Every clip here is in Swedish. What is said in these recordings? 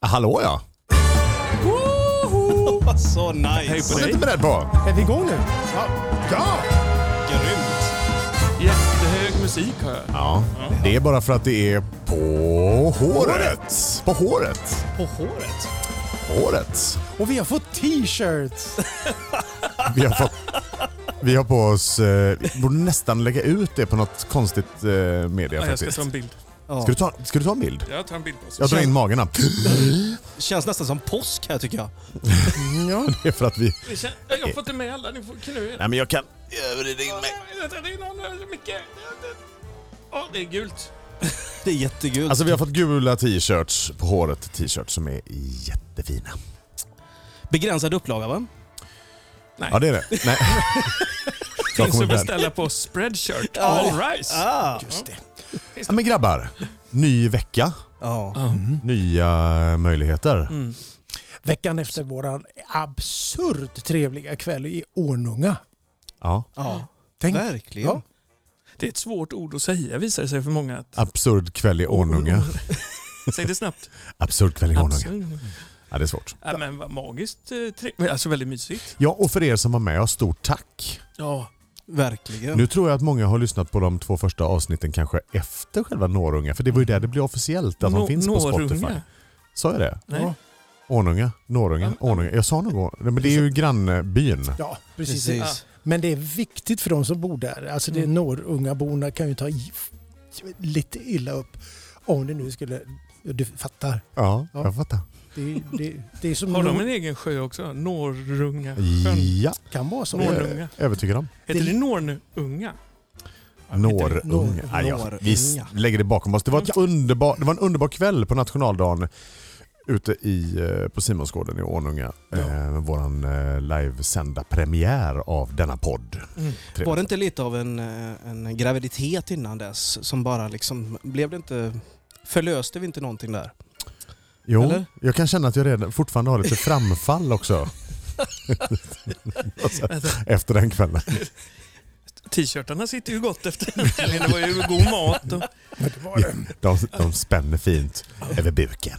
Hallå ja. Så nice. Hej på Var dig. du inte beredd på? Är vi igång nu? Ja! Grymt. Jättehög musik har jag. Ja, det är bara för att det är på håret. På håret. På håret. Håret. Och vi har fått t-shirts. Vi har, fått, vi har på oss... Eh, vi borde nästan lägga ut det på något konstigt eh, media Ja, jag ska faktiskt. ta en bild. Ska du ta, ska du ta en bild? Jag tar en bild på oss. Jag drar in magarna. Känns nästan som påsk här tycker jag. Ja. Det är för att vi... Ni känner- Jag får inte med alla, ni får knu er. Nej men jag kan... Vänta, det är någon, Micke. Ja, det är gult. Det är jättegult. Alltså vi har fått gula t-shirts på håret. T-shirts som är jättefina. Begränsad upplaga va? Ja det är det. Nej. Jag Finns kommer att inte- beställa på Spreadshirt. All right. Ah. Ja, men grabbar, ny vecka, Ja. nya möjligheter. Veckan efter våran absurt trevliga kväll i Ornunga. Ja, ja. Tänk, Verkligen. Ja. Det är ett svårt ord att säga visar det sig för många. Att, absurd kväll i Ornunga. säg det snabbt. Absurd kväll i Ornunga. Absolut. Ja, det är svårt. Ja, men vad magiskt eh, trevligt. Alltså väldigt mysigt. Ja, och för er som var med, oss, stort tack. Ja. Verkligen. Nu tror jag att många har lyssnat på de två första avsnitten kanske efter själva Norunga, för det var ju där det blev officiellt att de Nå- finns på nårunga. Spotify. Sa jag det? Nej. Ja. Ornunga, Norunga, Ornunga. Jag sa nog Or- Nej, men det är ju grannbyn. Ja, precis. Precis. Men det är viktigt för de som bor där. Alltså det Mm. norrungaborna kan ju ta i- lite illa upp om det nu skulle... Du fattar. Ja, Ja. jag fattar. Det, det, det är som Har de Nor- en egen sjö också? Norrunga sjön. Ja, kan vara som det är Norrunga. jag övertygad om. Heter det Norrunga? Norrunga. Norrunga. Aj, ja. Vi s- lägger det bakom oss. Det var, ett underbar, det var en underbar kväll på nationaldagen ute i, eh, på Simonsgården i Ornunga. Eh, våran eh, livesända premiär av denna podd. Mm. Trevligt. Ah. Var det inte lite av en, eh, en graviditet innan dess som bara liksom, blev det inte, förlöste vi inte någonting där? Jo, eller? jag kan känna att jag redan, fortfarande har lite framfall också. Och sen, Efter den kvällen. T-shirtarna sitter ju gott efter den helgen. Det var ju god mat. Och... De, de spänner fint över buken.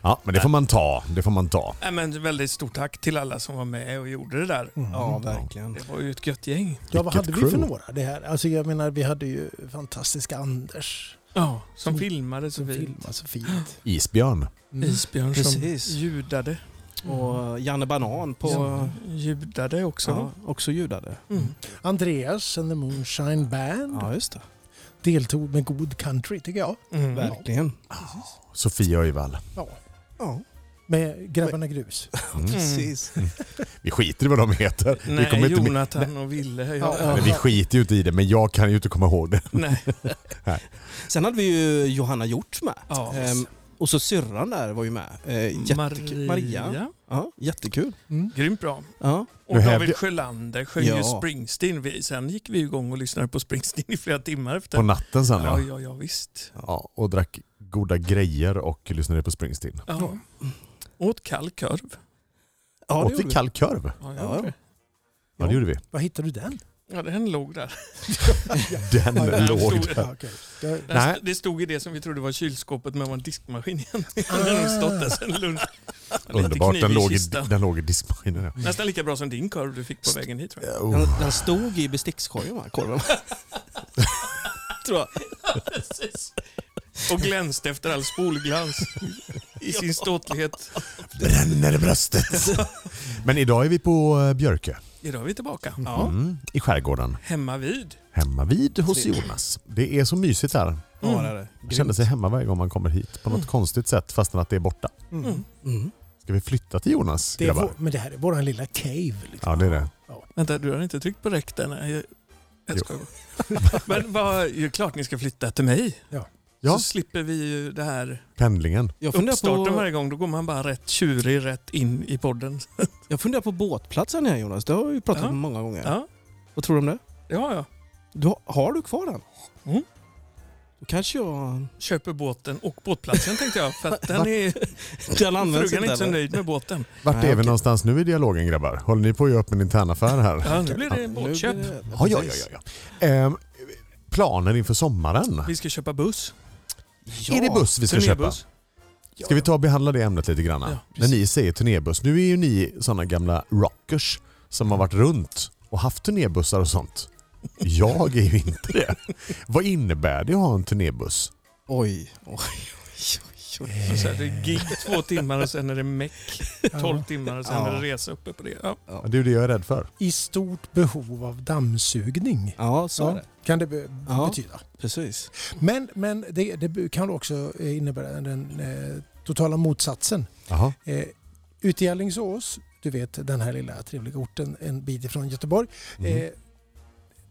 Ja, men det får man ta. Det får man ta. Nej, men väldigt stort tack till alla som var med och gjorde det där. Mm. Ja, verkligen. Det var ju ett gött gäng. Ja, vad hade Vilket vi för crew. några det här? Alltså jag menar, vi hade ju fantastiska Anders Ja, som, Som- filmade så som vi Mm. filmade så fint. Isbjörn. Isbjörn Precis. som ljudade. Och Janne Banan på, På... Ljudade också. ja, också ljudade. Mm. Andreas and the Moonshine Band Ja, just det. deltog med god country tycker jag. Mm. Verkligen. Sofia Öjvall. Ja. Ja, Med Grabbarna Grus. precis. Mm. Vi skiter i vad de heter. vi Nej, kommer inte Jonathan och Ville. Ja. Ja, ja. Men vi skiter ju inte i det, men jag kan ju inte komma ihåg det. Nej. Sen hade vi ju Johanna Hjort med. Ja. Ehm, och så syrran där var ju med. Eh, jättekul. Maria. Maria. Ja, jättekul. Mm. Grymt bra. Ja. Och Nu hävde- David Sjölander sjöng ju Ja. Springsteen. Vi, sen gick vi igång och lyssnade på Springsteen i flera timmar efter. På natten sen ja, ja. ja, ja, visst. ja. Och drack goda grejer och lyssnade på Springsteen. Ja. Åt kall korv. Ja, det Åt vi gjorde vi. kall korv? Ja, Ja, ja. Ja, det gjorde vi. Var hittade du den? ja, den låg där. Den den låg stod- där. Ja, okej. Jag- Den Nej. st- Det stod i det som vi trodde var kylskåpet men var en diskmaskin egentligen. Den har nog stått där sedan lunch. Lite Underbart. kniv Den i låg, i, kistan. den låg i diskmaskinen. ja. Nästan lika bra som din korv du fick på vägen hit tror jag. Oh. Den, den stod i bestickskorgen va, korven? Tror jag. Precis. Och glänste efter all spolglans i sin ståtlighet. Bränner i bröstet. Men idag är vi på eh, Björkö. Idag är vi tillbaka. Ja. Mm, I skärgården. Hemma vid. Hemma vid hos Jonas. Det är så mysigt här. Mm. Ja, det är det. Man känner sig hemma varje gång man kommer hit på något konstigt sätt fastän att det är borta. Mm. Ska vi flytta till Jonas Det är grabbar? vår, men det här är våran lilla cave. Liksom. Ja, det är det. Vänta, du har inte tryckt på räck där? Nej, jag- jag skojar. Men vad, ju klart ni ska flytta till mig. Ja, Så slipper vi ju det här pendlingen. Jag funderar, uppstarten på, varje gång. Då går man bara rätt tjurig rätt in i podden. jag funderar på båtplatsen här Jonas. Det har vi ju pratat Ja. om många gånger. Ja, Vad tror du om det? ja. ja. Du, har- har du kvar den? Mm. Då kanske jag... Köper båten och båtplatsen tänkte jag. För att den Vart- är, Den används frugan är inte så eller? nöjd med båten. Vart Nej, är vi okej. någonstans nu i dialogen grabbar? Håller ni på att göra upp en intern affär här? Ja, nu blir det Nu blir båtköp. det- Ja, ja, ja. ja, ja. Ehm, planer inför sommaren? Vi ska köpa buss. Ja. Är det buss vi ska köpa? Turnébuss. Ska vi ta och behandla det ämnet lite grann? Ja, När precis. ni säger turnébuss, nu är ju ni sådana gamla rockers som har varit runt och haft turnébussar och sånt. Jag är ju inte det. Vad innebär det att ha en turnébuss? Oj, oj, oj, oj. oj. Eh. Så så här, det är gig två timmar och sen är det meck tolv timmar och sen Ja. är det resa uppe på det. Ja. Ja, Det är ju det jag är rädd för. I stort behov av dammsugning. Ja, så Ja, är det. Kan det be- Ja. betyda. Precis. Men, men det, det kan också eh, innebära den eh, totala motsatsen. Jaha. Eh, ute i Alingsås, du vet den här lilla trevliga orten en bit ifrån Göteborg. Mm. Eh,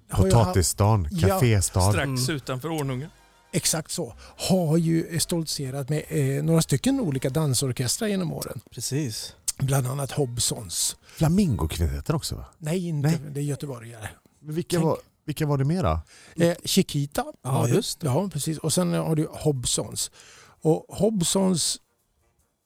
har ju ha- Potatisstan, Ja, kaféstad. Strax Mm. utanför Ornunga. Exakt så. Har ju stoltserat med eh, några stycken olika dansorkestrar genom åren. Precis. Bland annat Hobsons. Flamingokvintetten också va? Nej, inte Nej. det är göteborgare. Men vilka, Tänk- var, vilka var det mera? Eh, Chiquita. Ja, har du. just det. Ja, precis. Och sen har du Hobsons. Och Hobsons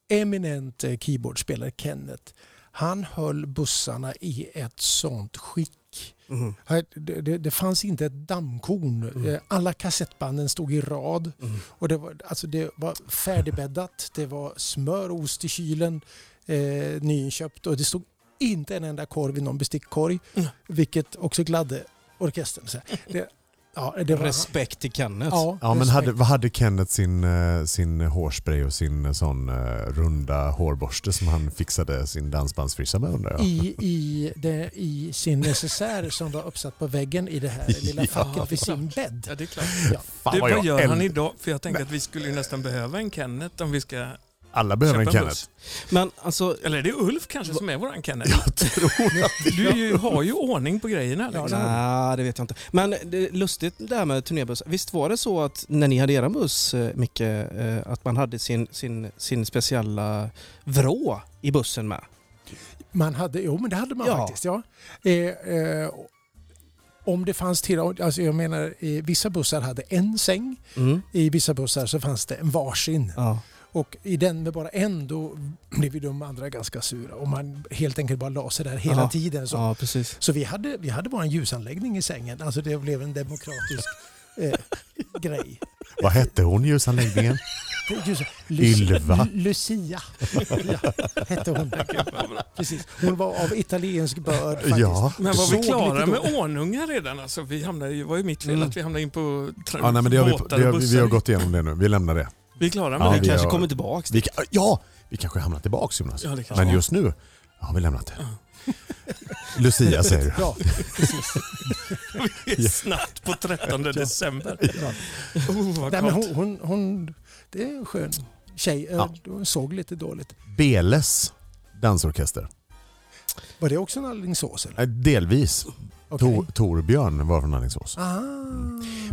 eminente keyboardspelare Kenneth, han höll bussarna i ett sånt skick. Mm. Här- Det, det, det fanns inte ett dammkorn. Mm. Eh, Alla kassettbanden stod i rad. Mm. Och det, var, alltså det var färdigbäddat, det var smör och ost i kylen, eh, nyinköpt och det stod inte en enda korv i någon bestickkorg, Mm. vilket också gladde orkestern. Så här, det, ja, det var, Respekt till Kenneth. Ja, Ja, men respekt. hade, vad hade Kenneth sin, eh, sin hårspray och sin eh, sån eh, runda hårborste som han fixade sin dansbandsfrissa med undrar jag? I, i, det, I sin necessär som var uppsatt på väggen i det här lilla Ja, facket vid klart. sin bädd. Ja, det är klart. Fan, vad Du, vad jag gör han äl- idag? För jag tänker att vi skulle ju nästan behöva en Kenneth om vi ska Alla behöver en köpa Kenneth. buss. Men alltså, Eller är det Ulf kanske som är våran Kenneth? Jag tror att Du är ju, har ju ordning på grejerna. Ja, Liksom. det har nej, det vet jag inte. Men det är lustigt det här med turnébuss. Visst var det så att när ni hade er buss, eh, Micke, eh, att man hade sin, sin, sin speciella vrå i bussen med? Man hade, jo men det hade man Ja. faktiskt. Ja. Eh, eh, om det fanns till, alltså jag menar eh, vissa bussar hade en säng, Mm. i vissa bussar så fanns det en varsin. Ja. Och i den med bara en då blev ju de andra ganska sura och man helt enkelt bara la sig där hela Ja. tiden. Så, ja, precis. så vi hade, vi hade bara en ljusanläggning i sängen, alltså det blev en demokratisk eh, grej. Vad hette hon ljusanläggningen? Just, Lucia, Ylva. Lu- Lucia ja, hette hon. Precis. Hon var av italiensk börd faktiskt. ja. Men var vi Såg klara lite med då. Ornunga redan? Alltså, vi hamnade, ju- var ju mitt fel Mm. att vi hamnade in på tra- ja nej, men det har vi, båtar det har, och vi, bussar. vi har gått igenom det nu. Vi lämnar det. Vi är klara med Ja, Men det. vi vi kanske har- kommer tillbaka. till- Vi, kan- ja, vi kanske hamnar tillbaka Jonas. Ja, det kanske Men var. just nu har vi lämnat det. Lucia säger du. Ja, precis. Vi är snabbt på 13 december. Ja. Oh, vad Nej, men gott. hon, hon, hon, det är en skön tjej. Eh, Ja. Hon såg lite dåligt. Beles dansorkester. Var det också en Alingsås? eller? Eh, Delvis. Okej. Tor, Torbjörn var från Alingsås. Ah.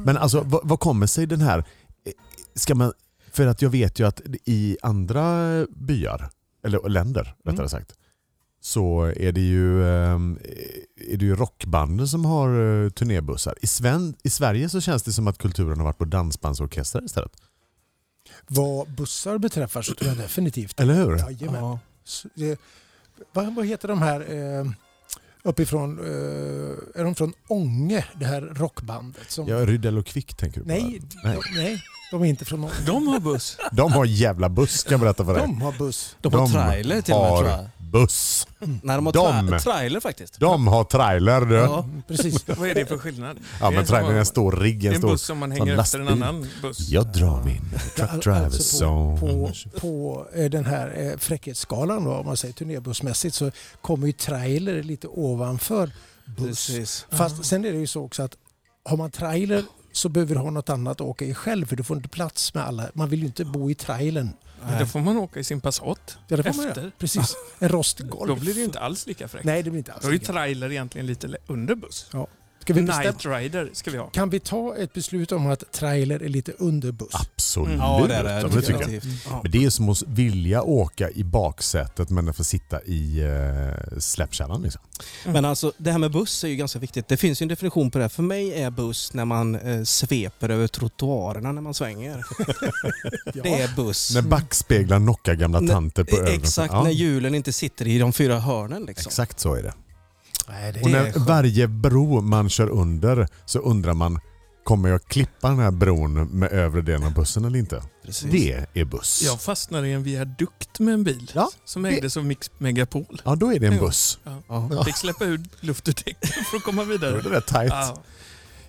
Men alltså vad, vad kommer sig den här... eh, Ska man, för att jag vet ju att i andra byar, eller länder rättare Mm. sagt, så är det ju, eh, är det ju rockbanden som har eh, turnébussar. I, Sven, I Sverige så känns det som att kulturen har varit på dansbandsorkestrar istället. Vad bussar beträffar så tror jag definitivt. Eller hur? Jajamän. Ja. Så det- Vad, vad heter de här eh, uppifrån? Eh, är de från Ånge, det här rockbandet? Som, Ja, Rydell och Kvick tänker du på. nej, Nej. nej. nej, de är inte från Ånge. De har buss. där. De har en jävla buss kan jag berätta för dig. De har buss. De har De trailer till och med har- tror jag. Mm. Buss! Nej, de har De- tra- trailer faktiskt. De har trailer du! Ja, Ja. Mm, Precis. Vad är det för skillnad? men trailern är en stor rigg, Det är en en stor... buss som man som hänger efter en lastbil. annan buss. Jag drar min truck driver Alltså song. på, på, på eh, den här eh, fräckhetsskalan då, om man säger turnébussmässigt så kommer ju trailer lite ovanför buss. Precis. Fast sen är det ju så också att har man trailer så behöver du ha något annat att åka i själv för du får inte plats med alla. Man vill ju inte bo i trailern. Men Då får man åka i sin Passat. Ja, det får man Efter. göra. Precis. En Då rostgolv. blir det ju inte alls lika fräckt. Nej, det blir inte alls Då är ju lika. trailer egentligen lite le- under buss. Ska vi bestämma? Night Rider ska vi ha. Kan vi ta ett beslut om att trailer är lite under buss? Absolut. Mm. Ja, det är det. Ja, tycker tycker jag. definitivt. Ja. Men det är som att vilja åka i baksätet men att få sitta i eh, släppkällan. Liksom. Mm. Men alltså det här med buss är ju ganska viktigt. Det finns ju en definition på det. här. För mig är buss när man eh, sveper över trottoarerna när man svänger. Ja. Det är buss. När backspeglar knockar gamla Nej, tanter på ögonen. Mm. e- Exakt Ja, när hjulen inte sitter i de fyra hörnen liksom. Exakt så är det. Nej, det Och är när skönt. varje bro man kör under så undrar man Kommer jag klippa den här bron med övre delen av bussen eller inte? Precis. Det är buss. Jag fastnade i en viadukt med en bil Ja, som det- ägdes av Mix Megapol. Ja, då är det en Ja. buss. Ja. Ja. Fick släppa ur luft ur däcken för att komma Då är vidare. det rätt tajt. Ja.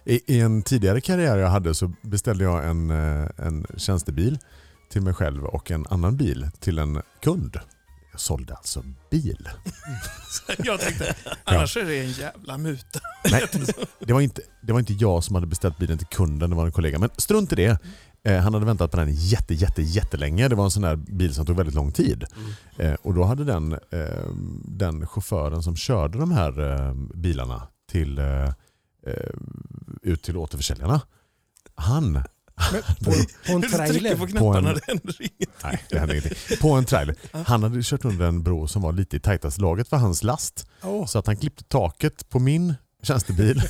I, I en tidigare karriär jag hade så beställde jag en, eh, en tjänstebil till mig själv och en annan bil till en kund. Jag sålde alltså bil. Så Jag tänkte, annars är det en jävla muta. Nej, det, var inte, det var inte jag som hade beställt bilen till kunden, det var en kollega. Men strunt i det. Eh, han hade väntat på den jätte, jätte, jättelänge. Det var en sån där bil som tog väldigt lång tid. Eh, och då hade den, eh, den chauffören som körde de här eh, bilarna till, eh, eh, ut till återförsäljarna, han Men på, på en Du trycker trailer. på knapparna, en- det händer inget. Nej, det hände ingenting. På en trailer. Han hade kört under en bro som var lite i tajtaste laget för hans last. Ja, Så att han klippte taket på min tjänstebil.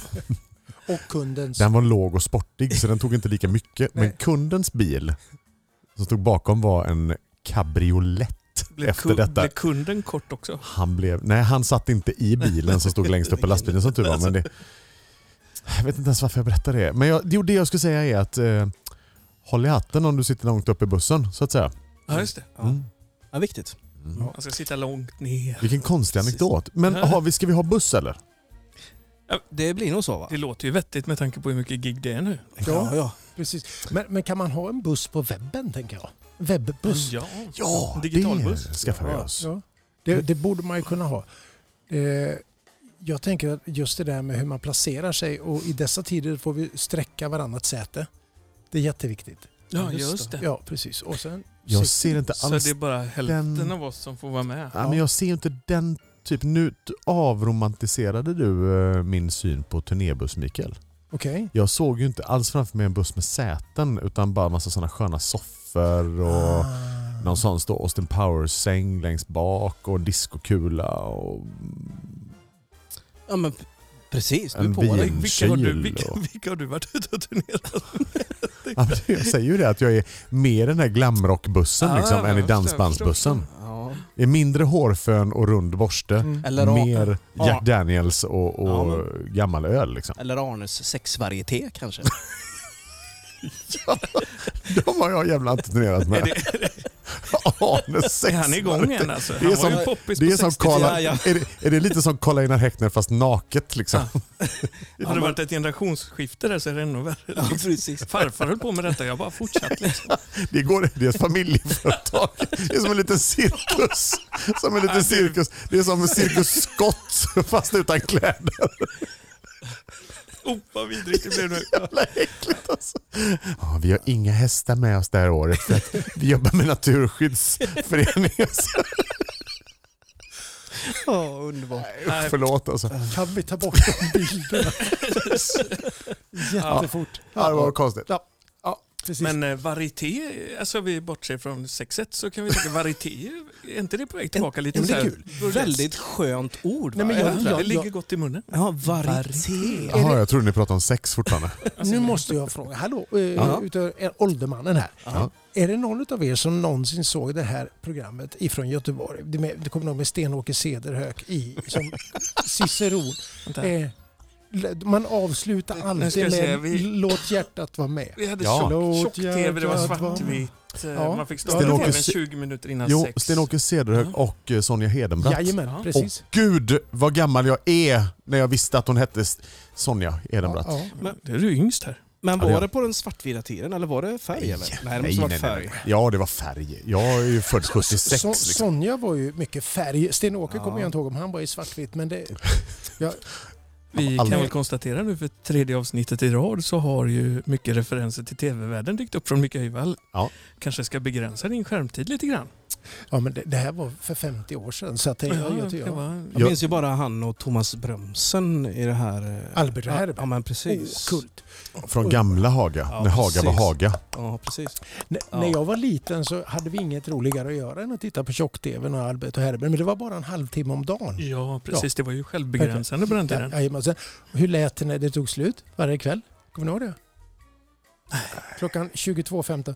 och kundens. Den var låg och sportig så den tog inte lika mycket. Men Nej. kundens bil som stod bakom var en cabriolet. Blev, Efter ku- detta- blev kunden kort också? Han, blev, nej, han satt inte i bilen som stod längst upp på lastbilen som tur var. Men det, jag vet inte ens varför jag berättar det. Men jag, jo, det jag skulle säga är att eh, håll i hatten om du sitter långt upp i bussen så att säga. Ja, just det. Mm. Ja, viktigt. Mm. Man ska sitta långt ner. Vilken konstig Precis. anekdot. Men aha, vi- ska vi ha buss eller? Det blir nog så va? Det låter ju vettigt med tanke på hur mycket gig det är nu. Ja, ja. precis. Men, men kan man ha en buss på webben, tänker jag? Webbuss. Ja. Ja, Digital buss. det alltså. skaffar vi Ja, oss. ja. Det, det borde man ju kunna ha. Eh, jag tänker att just det där med hur man placerar sig och i dessa tider får vi sträcka varannat säte. Det är jätteviktigt. Ja, just det. Ja, precis. Och sen, Jag sikt- ser inte Så alls... det är bara hälften den- av oss som får vara med. ja. men jag ser inte den typ... Nu avromantiserade du eh, min syn på turnébuss, Mikael. Okej. Jag såg ju inte alls framför mig en buss med säten utan bara massa sådana sköna soffor och Ah. någon sån står Austin Powers-säng längst bak och en discokula och Ja, men p- precis. Du är en på det. Vilka har, du, vinkyl. vilka, och- vilka har du varit ute och turnerat Ja, men Jag säger ju det, att jag är mer den här glamrockbussen Ja, liksom, Ah, ja, än i jag förstår, dansbandsbussen. Ja. Det är mindre hårfön och rund borste. Mm. Eller, mer ja. Jack Daniels och, och Ja, gammal öl. Liksom. eller Arnes sexvarieté kanske. De har jag jävla inte turnerat med? Är med. det, Arne är han igång Sexmark. än alltså? Han Det är var som- ju poppis Det är, på som 60 Karla, ja, ja. är, det, är det lite som Karl-Einar Häckner fast naket? Liksom. Hade det varit ett generationsskifte där så är det ännu värre. ja, precis. Farfar höll på med detta, jag bara fortsatt. Liksom. Det går det är ett familjeföretag. Det är som en liten cirkus. Som en liten cirkus. Det är som en cirkus Scott fast utan kläder. Oh, vad vidrigt det blev nu. Jävla äckligt alltså. Ja, vi har inga hästar med oss det här året för att vi jobbar med Naturskyddsföreningen. Ja, underbart. Nej, Förlåt alltså. Kan vi ta bort de bilderna? Jättefort. Ja, det var konstigt. Ja, precis. Men eh, varieté, alltså vi bortser från sexet så kan vi tänka varieté, är inte det på väg tillbaka lite Jo, det är så här kul. burlesk? Väldigt skönt ord. Nej, va? men jag- Eller? jag- Det ligger gott i munnen. Ja, varieté. Jaha, jag trodde ni pratade om sex fortfarande. Alltså, nu måste jag fråga, hallå, eh, Ja. utav er åldermannen här. Ja. Är det någon av er som någonsin såg det här programmet ifrån Göteborg? Det, med, det kommer nog med Sten-Åke Cederhök i, som ciceron. Vänta. Eh, l- man avslutar Nu ska alltid jag med säga, vi- låt hjärtat vara med. Vi hade Ja. tjock- Låt tjock-tv, det var hjärtat vara- svartvitt, eh, Ja. man fick Sten-Åke starta tvn Se- 20 minuter innan Jo, sex. Sten-Åke Cederhök Ja. och eh, Sonja Hedenbratt. Jajamän, Ja. precis. Gud vad gammal jag är när jag visste att hon hette S- Sonja Hedenbratt. Ja, ja. Men det är du yngst här. Men Ja, det- var det på den svartvita tiden eller var det färg? Eller? Nej, det måste varit färg. Ja, det var färg. Jag är ju född 76. Så, liksom. Sonja var ju mycket färg. Sten-Åke Ja. kommer jag inte ihåg om han var i svartvitt, men det... Ja, Vi Aldrig. kan väl konstatera nu för tredje avsnittet i rad så har ju mycket referenser till tv-världen dykt upp från Micke Höjvall. Ja. Kanske ska begränsa din skärmtid lite grann. ja, men det, det här var för 50 år sedan, så att det, jag, jag, det jag, var... Jag Jag- minns ju bara han och Thomas Brömsen i det här... eh, Albert ja, Herber. Ja, men precis. Åh, kult. Från gamla Haga, Ja, när Haga var precis. Haga. Ja, precis. N- Ja. När jag var liten så hade vi inget roligare att göra än att titta på tjock-tvn och Albert och Herbert. Men det var bara en halvtimme om dagen. Ja, precis. Det var ju självbegränsande på den tiden. Ja, jajamän. Sen, hur lät det när det tog slut varje kväll? Kommer ni ihåg det? Klockan 22.15.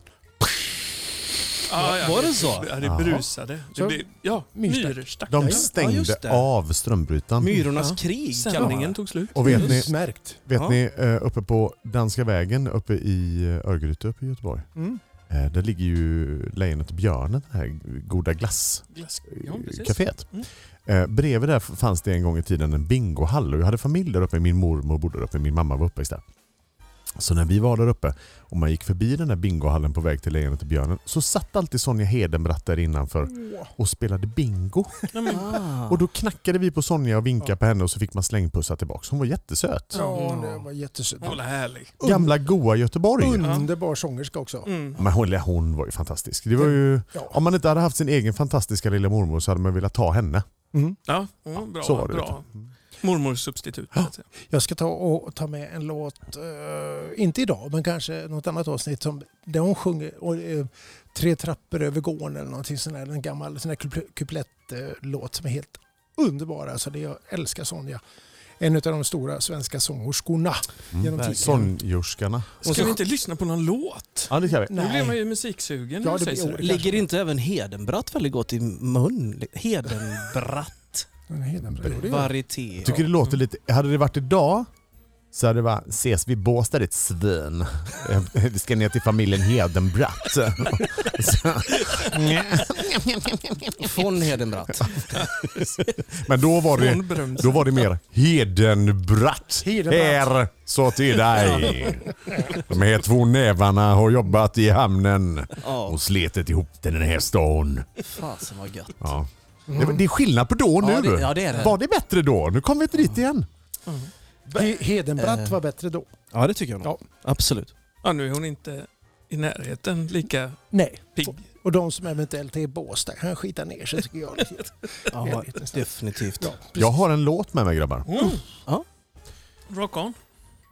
Ja, ja, Var det så? Ja, Jaha. det brusade. Det Ah, Så- blev, ja, Myrstack. myrstack. De Ja, ja. Ja, stängde just det. av strömbrytaren. Myrornas Ja. krig kallade Sändningen tog slut. Och vet ni, Utmärkt. vet Ja. ni eh, uppe på Danska vägen uppe i eh, Örgryte uppe i Göteborg. Mm. Eh, Där ligger ju Lejonet och björnen, det här goda glass Glass. eh, Ja, precis. kaféet. Mm. Eh, Bredvid där fanns det en gång i tiden en bingohall och jag hade familj där uppe. Min mormor bodde där uppe, min mamma var uppväxt där. Så när vi var där uppe och man gick förbi den där bingohallen på väg till Lejonet och björnen så satt alltid Sonja Hedenbratt där Mm. innanför och spelade bingo. Nej, men, Ah. Och då knackade vi på Sonja och vinkade på henne och så fick man slängpussar tillbaka. Hon var jättesöt. Ja, det var jättesött. hon var härlig. Gamla goa Göteborg. Underbar sångerska också. liksom. Mm. Men hon, hon var ju fantastisk. Det var ju, Ja. om man inte hade haft sin egen fantastiska lilla mormor så hade man velat ta henne. Mm. Ja, mm, bra. så var det. bra. Mormors substitut. så att säga. Jag ska ta och ta med en låt, eh, inte idag, men kanske något annat avsnitt som, där hon sjunger och, eh, Tre trappor över gården eller någonting sån där, en gammal sån där kupl- kuplettlåt som är helt underbar. Alltså det, jag älskar Sonja. En av de stora svenska sångerskorna genom tiden. Sonjorskarna. Ska vi inte lyssna på någon låt? Ja, det ska vi. Nu blir man Nej, ju musiksugen. Ja, när du det blir säger sådär. olika. Ligger inte även Hedenbratt väldigt gott i mun? Hedenbratt. den är helt- jo, det är- Varieté. Jag tycker det låter lite... Hade det varit idag så hade det varit ses vid Båstad ditt svin. Vi ska ner till familjen Hedenbratt. Så- Von Hedenbratt. Men då var det, Från Bröms. då var det mer Hedenbratt. Hedenbratt. Här så till dig. De här två nävarna har jobbat i hamnen Ja, och sletet ihop den här stan. fasen vad gött. Ja. Det, det är skillnad på då och Ja, nu. det- ja, det är det. Var det bättre då? Nu kommer vi inte dit igen. He- Hedenbratt Eh. var bättre då. Ja, det tycker jag nog. Ja. Absolut. Ja, nu är hon inte i närheten lika Nej. pigg. Och de som eventuellt är i Båstad kan skita ner sig tycker jag. Ja, definitivt. Ja, Jag har en låt med mig grabbar. Ja. Rock on.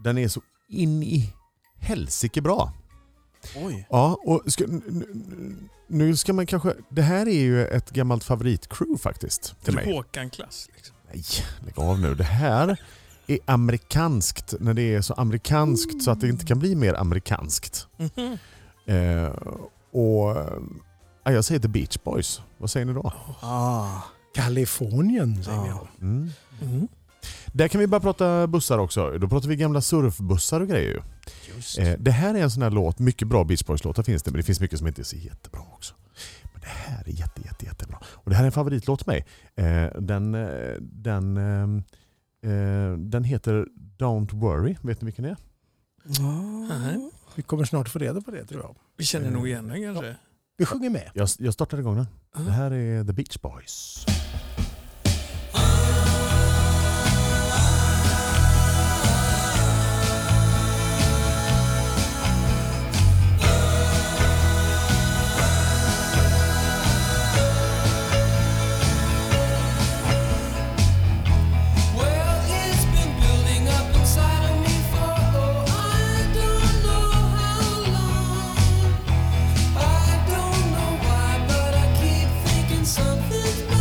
Den är så in i helsike bra. Oj. Ja, och ska, n- n- nu ska man kanske... Det här är ju ett gammalt favoritcrew faktiskt. Till mig. Håkan-klass. Liksom. Nej, lägg av nu. Det här är amerikanskt. När det är så amerikanskt så att det inte kan bli mer amerikanskt. Mhm. Eh, och... ja, jag säger The Beach Boys. Vad säger ni då? Ah. Kalifornien säger Ja. jag. Mm. Mhm. Där kan vi bara prata bussar också. Då pratar vi gamla surfbussar och grejer ju. Just. Eh, det här är en sån här låt, mycket bra Beach Boys-låtar finns det, men det finns mycket som inte är så jättebra också. Men det här är jätte, jätte, jättebra. Och det här är en favoritlåt för mig. Eh, den, eh, den, ehm, eh, den heter Don't Worry, vet ni vilken det är? Nej. Vi kommer snart få reda på det tror jag. Vi känner nog igen den kanske. Vi sjunger med. Jag, jag startar igång den. Det här är The Beach Boys. Well, it's been building up inside of me for oh, I don't know how long. I don't know why, but I keep thinking something's wrong.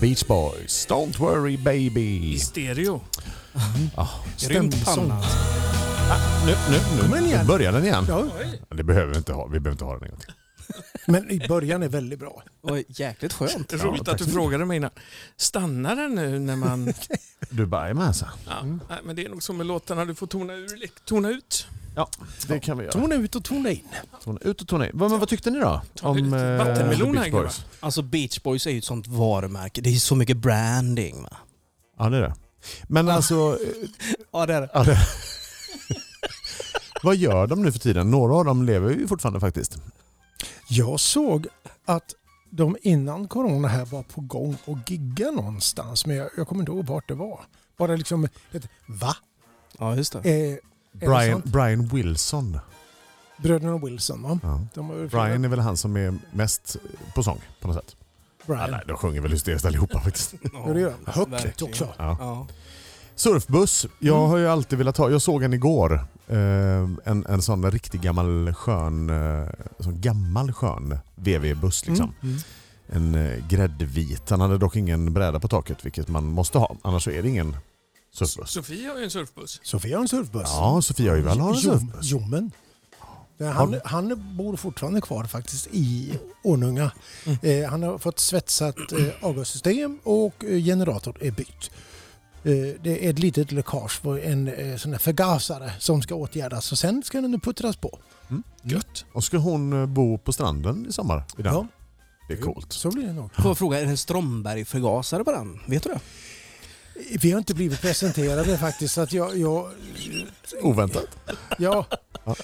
Beach Boys. Don't worry baby. Ah. I stereo. Grymt panna. Nu, nu, nu. Men igen. Nu börjar den igen. Ja, Det behöver vi inte ha. Vi behöver inte ha den en gång till. men i början är väldigt bra. Och jäkligt skönt. Ja, Roligt att tack. du frågade mig innan. Stannar den nu när man... Du bara, jajamän Ja, nej, men det är nog så med låtarna, du får tona, ur, tona ut. Det kan vi göra. Tona ut och tona in. Tona ut och tona in. Vad- Men vad tyckte ni då? Ta Om lite eh, vattenmelon The här, Beach Boys? Alltså Beach Boys är ju ett sånt varumärke. Det är så mycket branding. Va? Ja, det är det. Men alltså, eh, Ja, det är det. ja, det... vad gör de nu för tiden? Några av dem lever ju fortfarande faktiskt. Jag såg att de innan corona här var på gång och gigga någonstans, men jag, jag kommer inte ihåg vart det var. Bara liksom ett va? Ja, just det. Eh, är det Brian, sant? Brian Wilson. Bröderna Wilson va? Ja. De har ju flera- Brian är väl han som är mest på sång på något sätt. Ja, Brian. nej, de sjunger väl hysteriskt allihopa faktiskt. Ja, det gör han. Högt verkligen. också. Ja. Ja. Surfbuss. Jag har ju alltid velat ha. Jag såg en igår. Eh, en, en sån där riktig gammal skön, eh, sån gammal skön VV-buss liksom. Mm. En eh, gräddvit. Han hade dock ingen bräda på taket vilket man måste ha. Annars så är det ingen surfbuss. Sofia har ju en surfbuss. Sofia har en surfbuss. Ja, Sofia har ju väl har en Jo- surfbuss. Jommen. Ja, Han, han bor fortfarande kvar faktiskt i Ornunga. Mm. Eh, han har fått svetsat eh, avgassystem och eh, generator är bytt. Eh, det är ett litet läckage på en eh, sån här förgasare som ska åtgärdas och sen ska den nu puttras på. Gött. Och ska hon eh, bo på stranden i sommar? I den. Ja. Det är coolt. Så blir det nog. Får jag fråga, är det en Strömberg-förgasare på den? Vet du det? Vi har inte blivit presenterade faktiskt så att jag, jag, Oväntat. ja,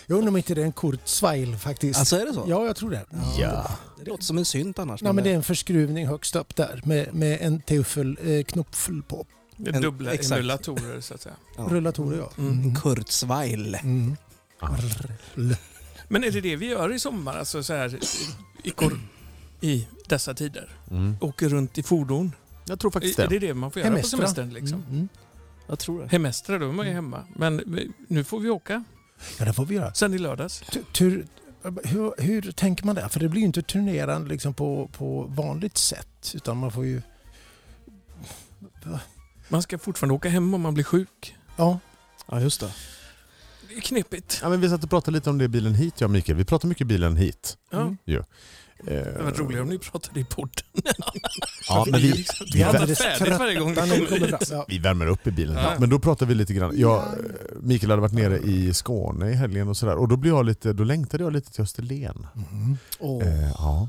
jag undrar om inte det är en Kurzweil faktiskt. Alltså är det så? Ja, jag tror det. Ja. Det låter som en synt annars. Nej, men det är det- en förskruvning högst upp där med, med en teufel eh, knopfel på. Det är En- dubbla exakt. emulatorer så att säga. Ja. Rullatorer ja. Mm. Kurzweil. Mm. Ah. Rrrl. Men är det det vi gör i sommar? Alltså så här, i, kor- i dessa tider? Mm. Åker runt i fordon? Jag tror faktiskt Är är det. det det man får göra Hemestra. på semestern? Liksom? Mm. Jag tror det. Hemestra, då är man ju Mm. hemma. Men vi- nu får vi åka Ja, det får vi göra. sen i lördags. Tu- Tur, hur, hur tänker man där? För det blir ju inte turnerande liksom på, på vanligt sätt. Utan man får ju... Man ska fortfarande åka hem om man blir sjuk. Ja, Ja, just det. Det är knepigt. Ja, men vi satt och pratade lite om det i bilen hit, jag och Mikael. Vi pratar mycket i bilen hit. Eh, Ja. Mm. Det hade varit roligare om ni pratade i podden. Ja, men vi, Vi vi, har alldeles pratat färdigt varje gång vi utan när vi kommer kommer hit. fram. Ja. vi värmer upp i bilen. Ja. Men då pratar vi lite grann. Jag, Ja. Mikael hade varit nere i Skåne i helgen och sådär. Och då, blev jag lite, då längtade jag lite till Österlen. Mm. Åh. Eh, ja.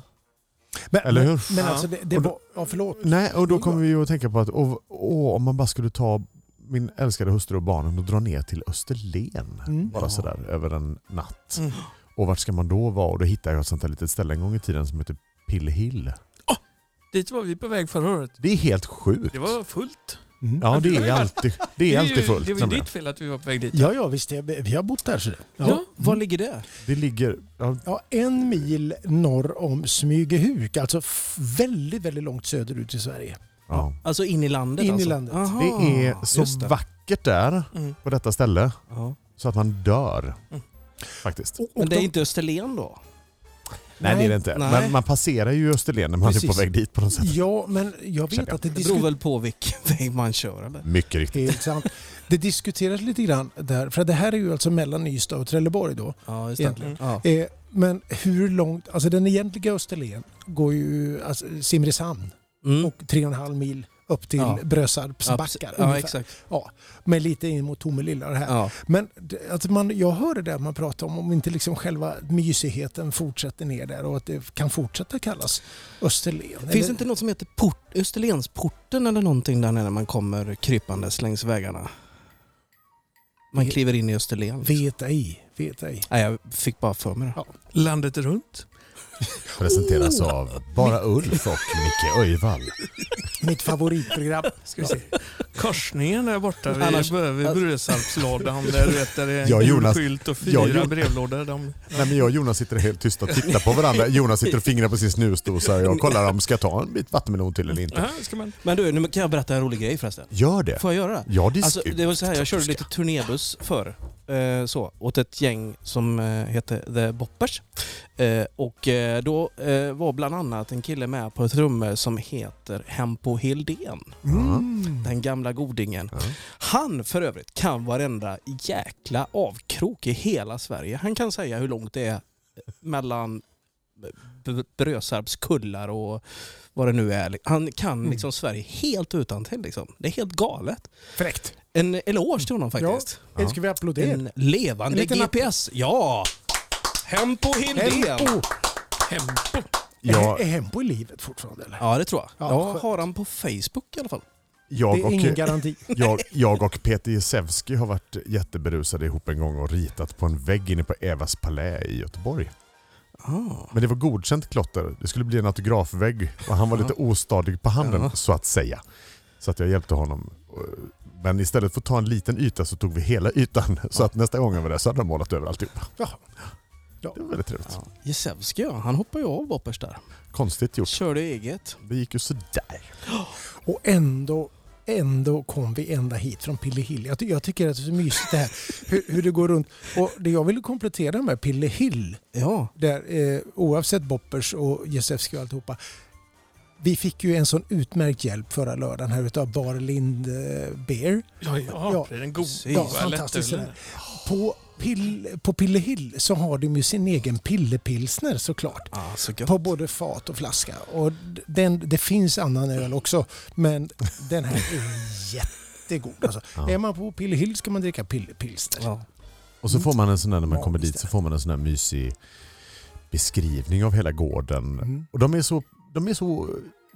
Men, Eller hur? men, men alltså det, det Och då- var... Ja, förlåt. Nej, och då kommer vi ju att tänka på att åh, åh, om man bara skulle ta min älskade hustru och barnen och dra ner till Österlen. Mm. Bara sådär över en natt. Mm. Och vart ska man då vara? Och då hittade jag ett sånt där litet ställe en gång i tiden som heter Pill Hill. Dit var vi på väg förra året. Det är helt sjukt. Det var fullt. Mm. Ja, det Det är var- alltid, det är ju- alltid fullt. Det var ju nämligen. ditt fel att vi var på väg dit. Ja, ja, visst. Det, vi har bott där. Så det. Ja, Mm. var ligger det? Det ligger... Ja, Ja, en mil norr om Smygehuk, alltså f- väldigt, väldigt långt söderut i Sverige. ja. Alltså in i landet In i alltså? landet. Aha, Det är så just det. vackert där Mm. på detta ställe Ja. så att man dör. Mm. Faktiskt. Och, och Men det är de- inte Österlen då? Nej, det är det inte. nej. Men man passerar ju Österlen när man Precis. är på väg dit på något sätt. Ja, men jag vet Känner jag. att det Det beror diskuteras... väl på vilken väg man kör eller? Mycket riktigt. Helt sant. Det diskuteras lite grann där, för det här är ju alltså mellan Ystad och Trelleborg då. Ja, just Egentligen. det. Ja. Eh, men hur långt, alltså den egentliga Österlen går ju alltså, Simrishamn Mm. och tre och en halv mil upp till Ja. Brösarps Ja, precis. backar. ja, ungefär. exakt. Ja, men lite in mot Tomelilla och det här. Ja. Men det- alltså man, jag hör det där man pratar om, om inte liksom själva mysigheten fortsätter ner där och att det kan fortsätta kallas Österlen. Finns det inte något som heter port, Österlensporten eller någonting där nere när man kommer krypandes längs vägarna? Man Vi- kliver in i Österlen. liksom. Vet ej, vet ej. Nej, jag fick bara för mig det. Landet runt. Presenteras av Bara Ulf och Micke Öjvall. Mitt favoritprogram. Ska vi se. Korsningen där borta vid Annars- Annars... Brösarpslådan. Där du vet där det är en Alltså- Ja, gul Jonas. skylt och Ja, fyra Jonas. brevlådor. De... Nej, men jag och Jonas sitter helt tysta och tittar på varandra. Jonas sitter och fingrar på sin snusdosa och jag kollar om ska jag ta en bit vattenmelon till eller inte. Aha, ska man... Men du, nu kan jag berätta en rolig grej förresten. Gör det. Får jag göra det? Ja, det är Alltså, skut. det var så här, jag körde Ska- lite turnébuss förr. eh, så, åt ett gäng som eh, hette The Boppers. Eh, och eh, då eh, var bland annat en kille med på trummor som heter Hempo Hildén. Mm. Den gamla godingen. Ja. Han för övrigt kan varenda jäkla avkrok i hela Sverige. Han kan säga hur långt det är mellan B- Brösarps kullar och vad det nu är. Han Mm. kan liksom Sverige helt utan till. Liksom. Det är helt galet. Fräckt. En eloge till honom faktiskt. Det ska vi applådera. En levande En liten app- GPS. Ja! Hempo Hildén! Hempo! Hempo. Jag, Är Hempo i livet fortfarande eller? Ja, det tror jag. Ja, jag skönt. har han på Facebook i alla fall. jag, Det är ingen och, garanti. jag, jag och Peter Jezewski har varit jätteberusade ihop en gång och ritat på en vägg inne på Evas palä i Göteborg. Ah. Men det var godkänt klotter. Det skulle bli en autografvägg och han var lite ostadig på handen Ja. så att säga. Så att jag hjälpte honom. Men istället för att ta en liten yta så tog vi hela ytan. Så att nästa gång jag var där så hade de målat över alltihopa. Ja. Det var väldigt trevligt. Ja. Jezewski ja, han hoppar ju av Boppers där. Konstigt gjort. Körde eget. Det gick ju sådär. Och ändå, ändå kom vi ända hit från Pillehill. Jag, ty- jag tycker att det är så mysigt det här. Hur, hur det går runt. Och det jag ville komplettera med Pillehill, Ja. där, eh, oavsett Boppers och Jezewski och alltihopa. Vi fick ju en sån utmärkt hjälp förra lördagen här utav Bar Lind eh, Beer. Ja, ja, Ja. Det är den goda Precis. Ja, vad fantastiskt. lättölen. sådär. På, pill, på Pillehill så har de ju sin egen pillepilsner såklart. Ah, så gött. På både fat och flaska. Och d- den, det finns annan öl också, men den här är jättegod. Alltså. Ja. Är man på Pillehill ska man dricka pillepilsner. Ja. Och så Mm. får man en sån där, när man Ja, kommer dit, visst så får man en sån där mysig beskrivning av hela gården. Mm. Och de är så, de är så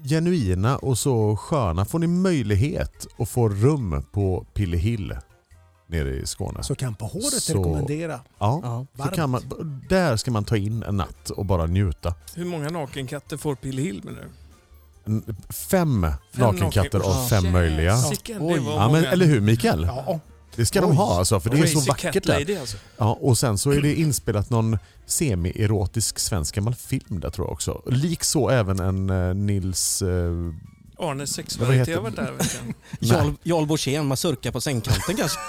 genuina och så sköna. Får ni möjlighet att få rum på Pillehill nere i Skåne? Så kan på håret Så- rekommendera. ja. Ja. Så Varmt. kan man, där ska man ta in en natt och bara njuta. Hur många nakenkatter får Pillehill med nu? N- Fem, nakenkatter naken- av fem Ja. möjliga. Sicken, det Oj. var Ja, men, många. eller hur Mikael? Ja, Det ska de Oj. ha alltså, för det är så Crazy vackert Cat där. Lady, alltså. Ja, och sen så är det inspelat någon semi-erotisk svensk gammal film där tror jag också. Likså även en eh, Nils... Eh, Arnes Vad sexualitet heter- har varit där i veckan. nej, Jarl, Jarl Borssén, mazurka på sängkanten kanske.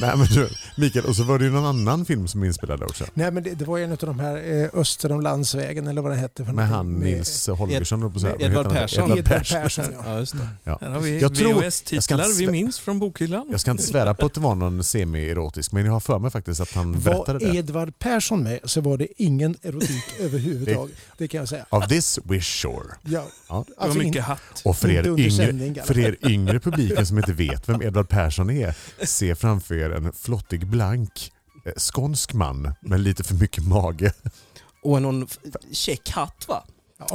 nej men du Mikael, och så var det ju någon annan film som är inspelad där också. nej men det, det var ju en av de här eh, Öster om landsvägen eller vad den hette. för Med någonting. han Med- Nils Holgersson höll jag på att säga. med Vad heter Edvard han? Persson. Edvard Edvard Persson. typ. Persson. Ja. Ja, just det. Här har vi Jag tror- jag VHS-titlar ska- vi minns från bokhyllan. Jag ska inte svära på att det var någon semi-erotisk, men jag har för mig faktiskt att han berättade Var det. Edvard Persson med så var det ingen erotik överhuvudtaget. Det kan jag säga. Of this we're sure. Ja, Ja. Det var alltså mycket in, hatt. Och för Inte er, under yngre, sändning, i alla för er yngre publiken som inte vet vem Edvard Persson är, se framför er en flottig blank eh, skånsk man med lite för mycket mage. Och någon f- check hatt va? ja,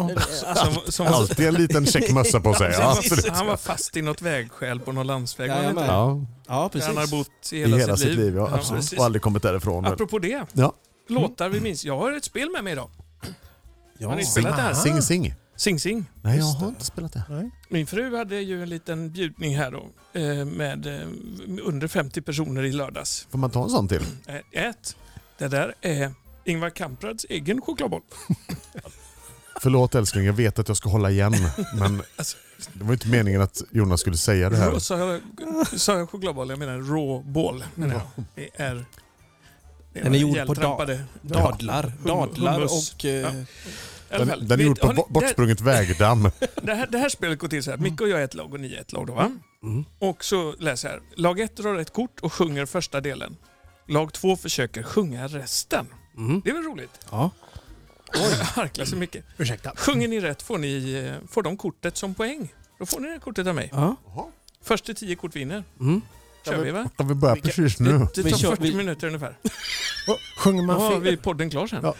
Alltså, Som, som var, Alltid en liten check mössa på sig. Ja, Ja, absolut. han var fast i något vägskäl på någon landsväg. var han Jajamän. inte? Ja, ja, Där precis. han har bott i I hela, hela sitt liv, ja, absolut. precis. Och aldrig kommit därifrån. väl. Apropå det, Ja. låtar vi minns. Jag har ett spel med mig idag. Har Ja. ni spelat det här? Ah. Sing Sing. Sing Sing. Nej, jag Just har det. inte spelat det. Min fru hade ju en liten bjudning här då eh, med eh, under 50 personer i lördags. Får man ta en sån till? Eh, Ett, det där är Ingvar Kamprads egen chokladboll. Förlåt älskling, jag vet att jag ska hålla igen. Men Alltså. det var inte meningen att Jonas skulle säga det här. Rå- Sa jag, sa jag chokladboll? Jag menar råboll. Menar jag. Det är... det Den är gjord på ihjältrampade- Dadlar, dadlar Hummus. och... eh, I alla Den, fall, den är vet- gjord på har ni- bo- bortsprunget vägdamm. det, det, här, det här spelet går till så här. Micke och jag är ett lag och ni är ett lag. Då, va? Mm. Och så läser jag här. Lag 1 drar ett kort och sjunger första delen. Lag 2 försöker sjunga resten. Mm. Det är väl roligt? Ja. Oj, jag harklar så mycket. ursäkta. Sjunger ni rätt får, ni, eh, får de kortet som poäng. Då får ni det här kortet av mig. Ja. Först till 10 kort vinner. Mm. Kör vi va? Kan vi börja Vilka- precis nu? Det Vi tar kör- 40 vi- minuter ungefär. Och Sjunger Då man har fel? vi podden klar sen. Ja.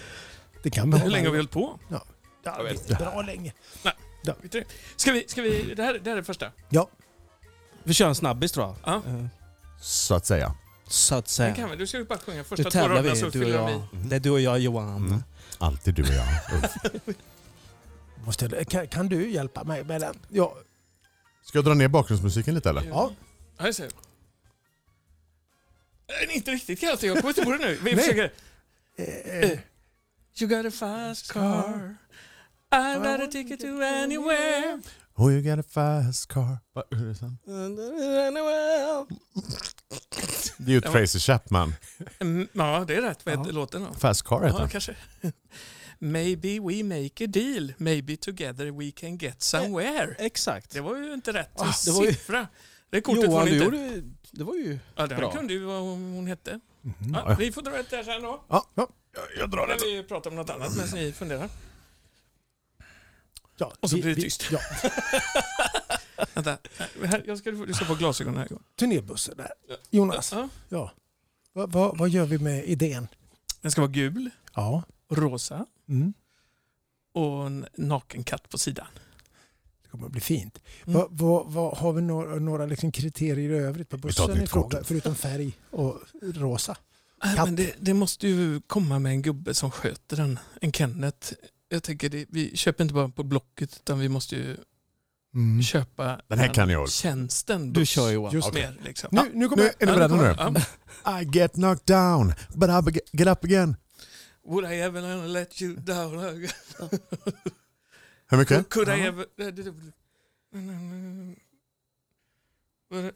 Det kan man Hur länge har vi hållit på? Ja, det är bra länge. Vet du det? Ska vi, ska vi, det, här, det här är första. Ja, Vi kör en snabbis tror jag. Ja. Eh, Så att säga. Så att Den säga. kan vi. Du ska ju bara sjunga Nu första två tävlar raderna vi, så du och fyller jag. vi. Det är du och jag Johan. Mm. Alltid du och jag. Ulf. måste jag, kan, kan du hjälpa mig med den? Ja, Ska jag dra ner bakgrundsmusiken lite eller? ja. Ja, just det. Nej, inte riktigt kanske. Jag kommer inte på det nu. Vi Nej. försöker. Eh, You got a fast car. I've got a ticket to anywhere. Oh you got a fast car. Va, hur är det sen? Det är ju Ja. Tracy Chapman. Mm, Ja, det är rätt. Vad heter Ja. låten då? Fast Car heter Ja, den. kanske. Maybe we make a deal. Maybe together we can get somewhere. Exakt. Det var ju inte rätt det var ju- siffra. Det kortet får Johan, ni du inte. gjorde... Det var ju... Ja, det bra. här kunde ju vad hon hon hette. Mhm. Ja. Ja, vi får dra ett där sen då. Ja, ja. Jag- Jag drar När den. vi pratar om något annat medan ni funderar. Ja, Och så vi- blir det vi- tyst. Ja, Vänta. Här, jag ska, du ska få glasögon den här gången. turnébussen där. Jonas, Ja. ja. Vad- vad- vad gör vi med idén? Den ska vara gul, Ja. rosa Mm. och en naken katt på sidan. Det kommer att bli fint. Mm. Vad- vad- vad- har vi några, några liksom kriterier i övrigt på Vi tar ett bussen i nytt fråga? kort. Förutom färg och rosa. Nej, Äh, Katt. Men det, det måste ju komma med en gubbe som sköter den. En Kenneth. Jag tänker, det, vi köper inte bara på Blocket utan vi måste ju Mm. köpa Den här kan jag. tjänsten. Du kör Johan. Just Mer, liksom. Nu, Ja, nu kommer Nu, är ni ja, beredda nu? ja. I get knocked down, but I be- get up again. Would I ever let you down? Hur mycket? Could I Ja. ever...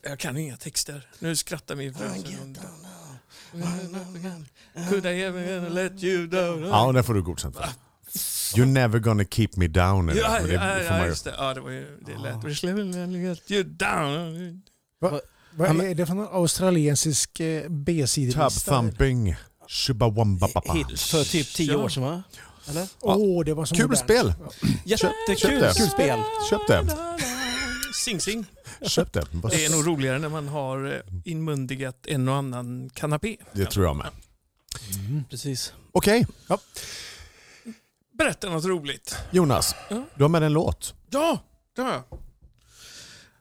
Jag kan inga texter. Nu skrattar min fru. Could I ever let you down? Ja, den får du godkänt för. You're never gonna keep me down. är det. Ja, Och det ja, får man ja, ju- just det. Ja, det var ju... Det lät... Ah. We shall never let you down. Vad Ja, men- är det för någon australiensisk eh, Tub B-sidelista? thumping, shubawambapapa. Hit för typ tio år sedan va? Eller? Åh, det var så Kul modernt. spel! köp Jättekul det. spel. Köp det. Sing Sing. Köp det. Vad- Det är nog roligare när man har eh, inmundigat en och annan kanapé. Det tror jag med. Precis. Okej, Berätta något roligt. Jonas. Ja. Du har med en låt. Ja, det har jag.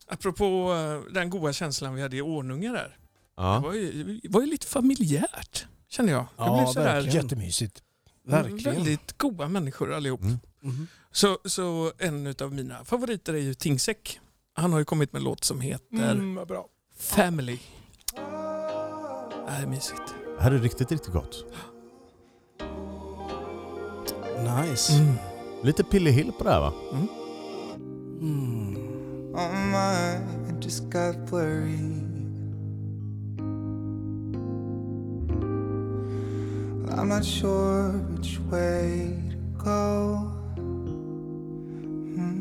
Apropå eh, den goda känslan vi hade i Ornunga där. Det var ju, det var ju lite familjärt, kände jag. Det Ja, verkligen. Mm. Jättemysigt. Verkligen. väldigt goda människor allihop. Mm. Mm-hmm. Mhm. Så, så en av mina favoriter är ju Tingsek. Han har ju kommit med en låt som heter Mm, vad bra. Family. Det här är mysigt. Det här är riktigt, riktigt gott. Nice. Mm. Lite Pille Hill på det här va? Mm. Oh my, it just got blurry. I'm not sure which way to go. Hmm.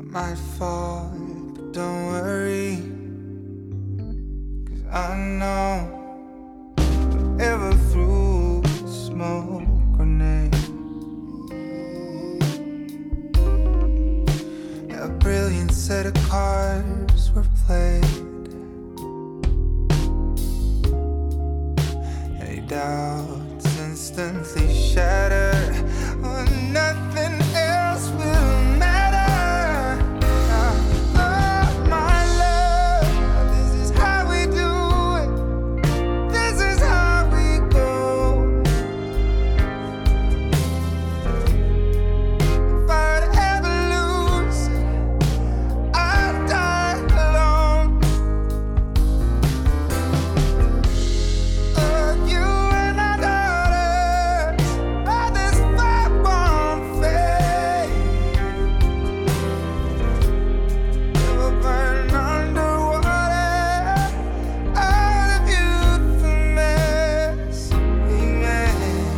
I might fall, but don't worry. Cause I know whatever through a smoke grenade. A brilliant set of cards were played. Hey, doubts instantly shattered. Oh, nothing else will matter. Now, oh, my love, this is how we do it. This is how we go. If I'd ever lose, I'd die alone. But you and our daughters, by this fire won't fade. They will burn underwater. All the beautiful mess we made.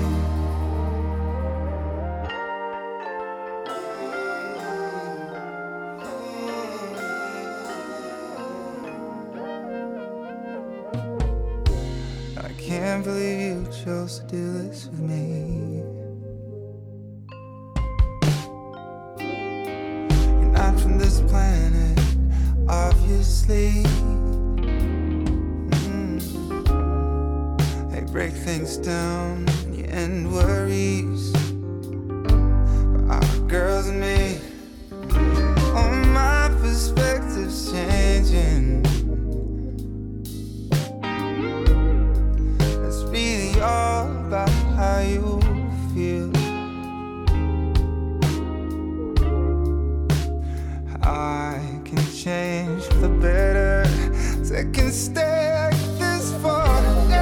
I can't believe you chose to do this with me. You're not from this planet, obviously. Mm. They break things down and you end worries. But our girls and me, oh, my perspective's changing. It's really all about how you feel. I can change for the better. So I can stay like this forever.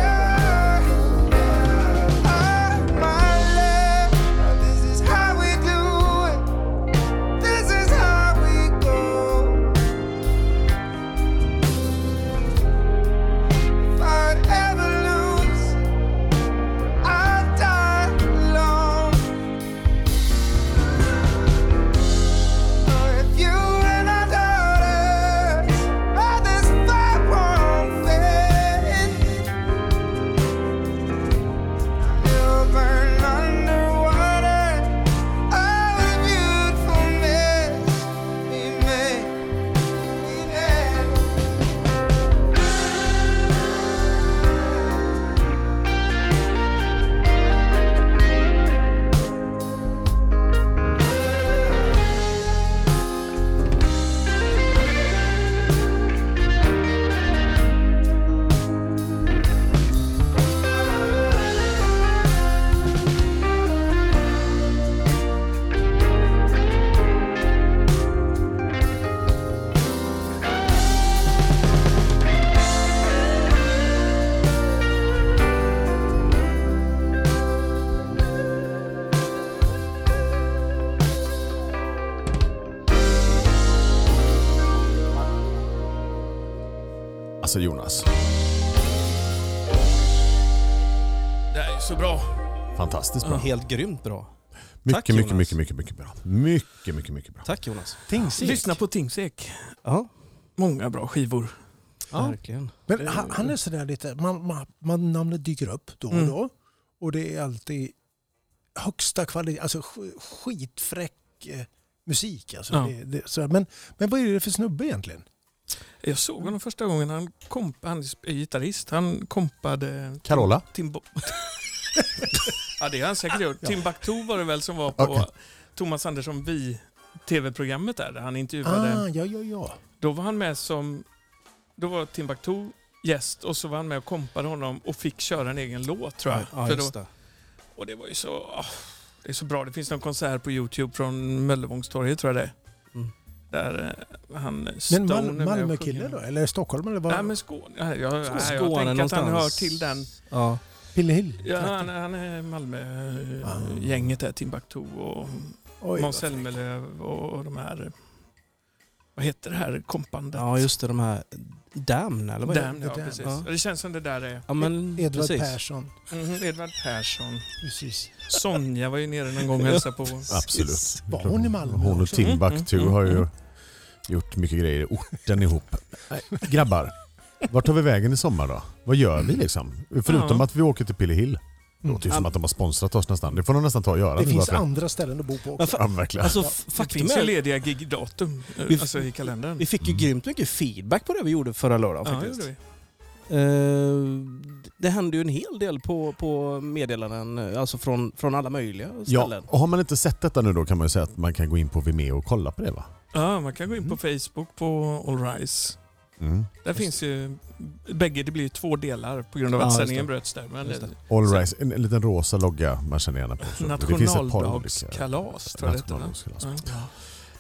Oh, my love, this is how we do it. This is how we go. alltså Jonas. Det här är så bra. Fantastiskt bra. Helt grymt bra. Mycket, Tack, mycket, Jonas. mycket, mycket, mycket bra. Mycket, mycket, mycket bra. Tack Jonas. Lyssna på Tingsek. Ja, Många bra skivor. verkligen. Men han, han är sådär lite, man, man, man, namnet dyker upp då och Mm. då. Och det är alltid högsta kvalitet, alltså sk- skitfräck eh, musik. Alltså, Ja. det, det, sådär. Men, men vad är det för snubbe egentligen? Jag såg honom första gången. Han, komp, han är gitarrist. Han kompade Carola? Timbo... ja, det har han säkert gjort. Timbuktu var det väl som var på Okej. Thomas Andersson Vi tv-programmet där, där han intervjuade. Ah, ja, ja, ja. Då var han med som... Då var Timbuktu gäst och så var han med och kompade honom och fick köra en egen låt tror jag. Ja, För just då, det. och det var ju så... ah, det är så bra. Det finns någon konsert på Youtube från Möllevångstorget tror jag det är. Mm. Där eh, han Stone Men är med Mal- och Malmökille sjunger. då? Eller Stockholm? Eller vad? Nej men Skåne. Jag, jag, jag, Skåne tänker att han hör någonstans. till den. Ja. Pille Hill? Ja, trakten? han, han är Malmö-gänget där. Timbuktu och Oj, Måns vad fräck. Zelmerlöw och de här... Vad heter det här kompandet? ja, just det. De här Damn, eller vad är det? Damn, ja, Damn, precis. ja. Det känns som det där är. Ja, men Edvard precis. Persson. Mhm, Edvard Persson. Precis. Sonja var ju nere någon gång och hälsade på. Absolut. Var hon i Malmö Hon och också? Timbuktu Mm, mm, har ju mm. gjort mycket grejer i orten ihop. Nej, Grabbar, vart tar vi vägen i sommar då? Vad gör vi liksom? Förutom Ja. att vi åker till Pillehill. Det Mm. låter ju som att de har sponsrat oss nästan. Det får de nästan ta och göra. Det nu finns bara för- andra ställen att bo på också. Ja, verkligen. Alltså, f- Det faktum finns ju är lediga gigdatum eh, Vi- alltså, i kalendern. vi fick ju Mm. grymt mycket feedback på det vi gjorde förra lördagen. Ja, det Faktiskt. gjorde vi. Eh, det hände ju en hel del på, på meddelanden, eh, alltså från, från alla möjliga Ja, ställen. och har man inte sett detta nu då kan man ju säga att man kan gå in på Vimeo och kolla på det va? Ja, man kan gå in på Mm. Facebook på All Rise. Mm. Där finns ju bägge, det blir ju två delar på grund av Ja, att just sändningen det. bröts där. Men Just det. All Rise, en, en liten rosa logga man känner gärna på. Så Det finns ett par olika. Nationaldagskalas tror jag det heter. Nationaldagskalas. va? Ja. Kan man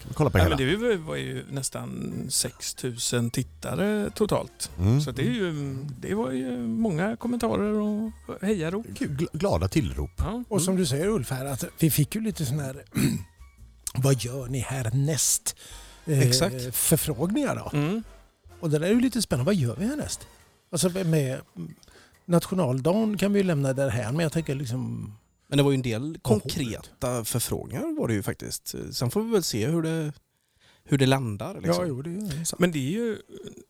alltså. kolla på Ja, hela. men det var ju- var ju nästan 6 000 tittare totalt. Mm. Så det, är ju, det var ju många kommentarer och hejarop. Kul, gl- glada tillrop. Ja. Och som du säger Ulf här, att vi fick ju lite sån här vad gör ni härnäst? Eh, Exakt. Förfrågningar då. Mm. Och det där är ju lite spännande, vad gör vi härnäst? Alltså med nationaldagen kan vi ju lämna där här, men jag tänker liksom... Men det var ju en del konkreta förfrågningar var det ju faktiskt. Sen får vi väl se hur det, hur det landar. Liksom. jo, det är ju sant. Men det är ju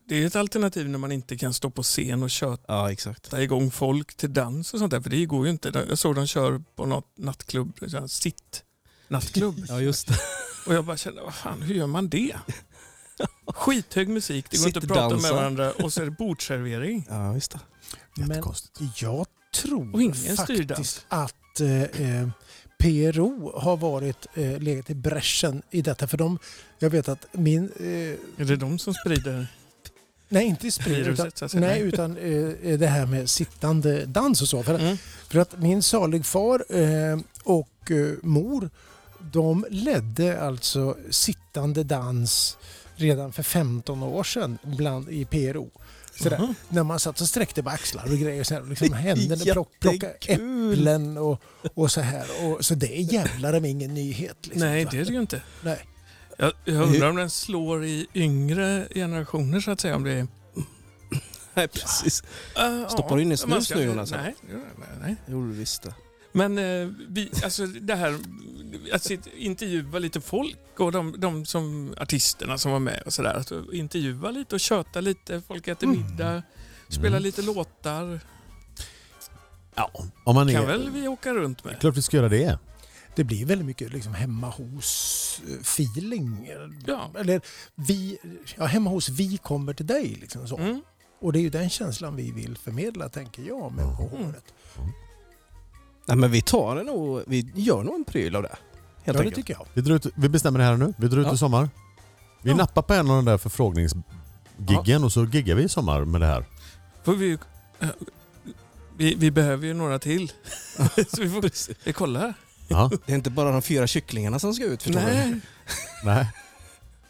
det är ett alternativ när man inte kan stå på scen och köta Ja, exakt. igång folk till dans och sånt där. För det går ju inte. Jag såg de kör på något nattklubb, så här, sitt nattklubb. Ja, just det. Och jag bara kände, vad fan, hur gör man det? Skithög musik, det går inte att Sitter prata med dansa. varandra och så är det bordsservering. Ja, just det. Men Jättekonstigt. jag Och ingen tror styrdans. faktiskt att eh, eh, PRO har varit, eh, legat i bräschen i detta. För de, jag vet att min... Eh, Är det de som sprider nej, inte sprid, utan, viruset? Så att säga? nej, utan eh, det här med sittande dans och så. För att Mm. För att min saligfar eh, och eh, mor, de ledde alltså sittande dans redan för 15 år sedan bland, i PRO. Sådär, Mhm. När man satt och sträckte på axlar och grejer. Sådär, liksom, händerna plock, plockade Jättekul! äpplen och, och så här. Och, så det är jävlar om ingen nyhet. Liksom, Nej, va? det är det ju inte. Nej. Jag, jag undrar om den slår i yngre generationer så att säga. Om det är, Nej, precis. Ah, Stoppar du in i snus man ska- nu, Jonas? Nej, det gör jag inte, nej. Jo, du visste. Men eh, vi, alltså det här att sitt- intervjua lite folk och de, de som artisterna som var med och sådär. Att intervjua lite och köta lite, folk äter Mm. middag, spela Mm. lite låtar. Ja, om man Kan är... väl vi åka runt med? Klart vi ska göra det. Det blir väldigt mycket liksom, hemma hos-feeling. Ja. Eller vi, ja, hemma hos vi kommer till dig. Liksom, så. Mm. Och det är ju den känslan vi vill förmedla, tänker jag, med På Mm. håret. Nej, men vi tar det nog. Vi gör nog en pryl av det. Helt ja, det enkelt. tycker jag. Vi, drar ut, vi bestämmer det här nu. Vi drar ut Ja. i sommar. Vi Ja. nappar på en av de där förfrågningsgiggen och så giggar vi i sommar med det här. Får vi, eh, vi, vi behöver ju några till. så vi får vi kollar. Ja. Det är inte bara de fyra kycklingarna som ska ut för Nej. Nej. Nej.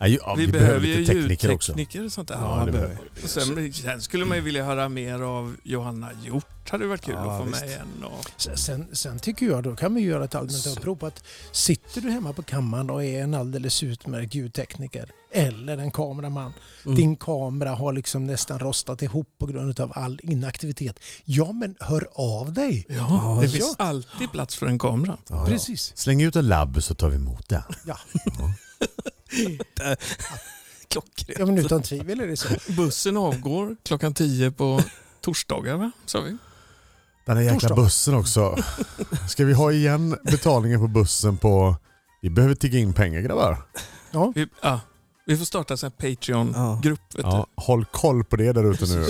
Ja, ju- ja, vi, behöver ju lite tekniker också. ljudtekniker och sånt där. Ja, det behöver Och sen, sen skulle man ju vilja höra mer av Johanna Hjort. hade varit kul Ja, att få visst. med henne. Och... Sen- Sen, sen tycker jag, då kan vi göra ett allmänt upprop att sitter du hemma på kammaren och är en alldeles utmärkt ljudtekniker eller en kameraman. Mm. Din kamera har liksom nästan rostat ihop på grund av all inaktivitet. Ja, men hör av dig! Ja, det ja. finns alltid plats för en kamera. Ja, ja. Precis. Släng ut en labb så tar vi emot det. Ja, men utan tvivel är det så. Bussen avgår klockan 10 på torsdagar, va? sa vi. Den här jäkla Torsdag. bussen också. Ska vi ha igen betalningen på bussen på... Vi behöver tigga in pengar grabbar. Ja, Vi, ja, vi får starta en sån här Patreon-grupp. vet Ja, håll koll på det där ute nu.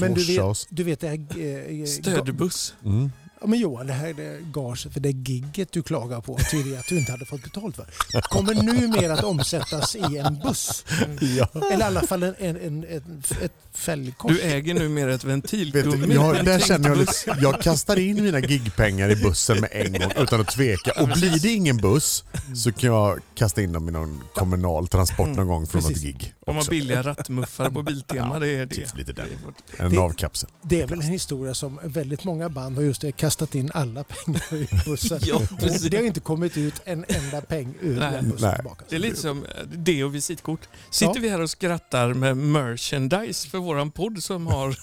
men du Swisha vet, oss. du vet det här... eh, eh, du. Stödbuss. Mm. Ja, men Johan, det här är gaget för det gigget du klagar på tydligen att du inte hade fått betalt för. Kommer numera att omsättas i en buss. Mm. Ja. Eller i alla fall en, en, en, en, ett fällkors. Du äger numera Vet ett ventilgummi. du, jag, där känner jag, liksom, jag kastar in mina gigpengar i bussen med en gång utan att tveka. Och blir det ingen buss så kan jag kasta in dem i någon kommunal transport någon gång från något Precis. gig. Om man också. billiga rattmuffar på Biltema, det är det. Typ lite där. Det är vårt- En Det- navkapsel. Det är väl en historia som väldigt många band har just det, kastat in alla pengar i bussen. Ja, precis. och det har inte kommit ut en enda peng ur Nej. den bussen Nej. tillbaka. Det är lite som eh, det och visitkort. Sitter Ja. vi här och skrattar med merchandise för våran podd som har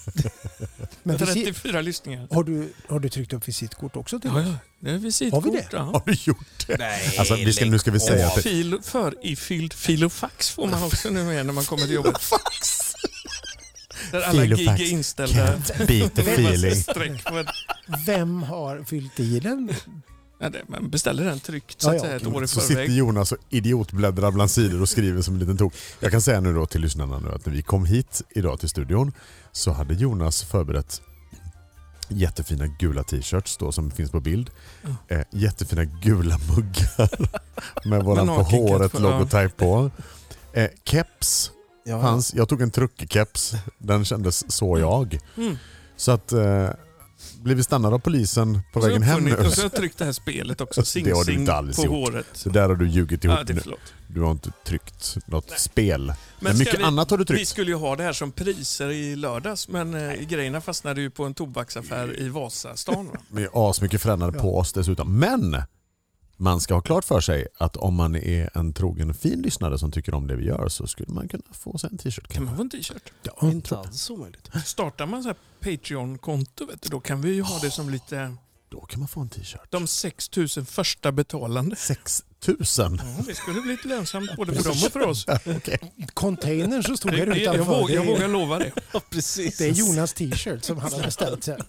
Men visi- 34 lyssningar? har, du, har du tryckt upp visitkort också? Till? Ja, ja. Det är visitkort. Har vi det? Ja. Har du gjort det? Alltså, vi ska, nu ska vi säga att Och det, fil, för ifylld fil och fax får man också nu med när man kommer till jobbet. Där alla Fil och gig fax. är inställda. Beat the Det är bara feeling. streck på ett- Vem har fyllt i den? Ja, det- Man beställer den tryckt så Ja, att ja, säga ett okej. år i Så sitter förväg. Jonas och idiotbläddrar bland sidor och skriver som en liten tok. Jag kan säga nu då till lyssnarna nu att när vi kom hit idag till studion så hade Jonas förberett jättefina gula t-shirts då som finns på bild. Eh, jättefina gula muggar med våran på har kickat håret för- logotyp på. Eh, keps Ja, fanns. Jag tog en truckerkeps. Den kändes så jag. Mm. Så att eh, blev vi stannade av polisen på Och så har vägen jag hem nu. uppfunnit- Och så har jag tryckt det här spelet också. Det Sing har du Sing inte alls på gjort. håret. Så där har du ljugit ihop Ja, det är nu. förlåt. Du har inte tryckt något spel. Men ska mycket vi- annat har du Vi tryckt. skulle ju ha det här som priser i lördags, men eh, grejerna fastnade ju på en tobaksaffär i Vasastan. Va? Med asmycket frännade på oss dessutom. Men man ska ha klart för sig att om man är en trogen fin lyssnare som tycker om det vi gör så skulle man kunna få sig en t-shirt. Kan kanske. man få en t-shirt? ja, inte alls omöjligt. Startar man så här Patreon-konto, vet du, då kan vi ju ha det som lite eh, Då kan man få en t-shirt. de 6 000 första betalande. 6000. Ja, det skulle bli lite lönsamt både för dem och för oss. Containern som stod Det, här det, jag, utanför. vågar, jag Det vågar är, lova det. Ja, precis. det är Jonas t-shirt som han har beställt sen.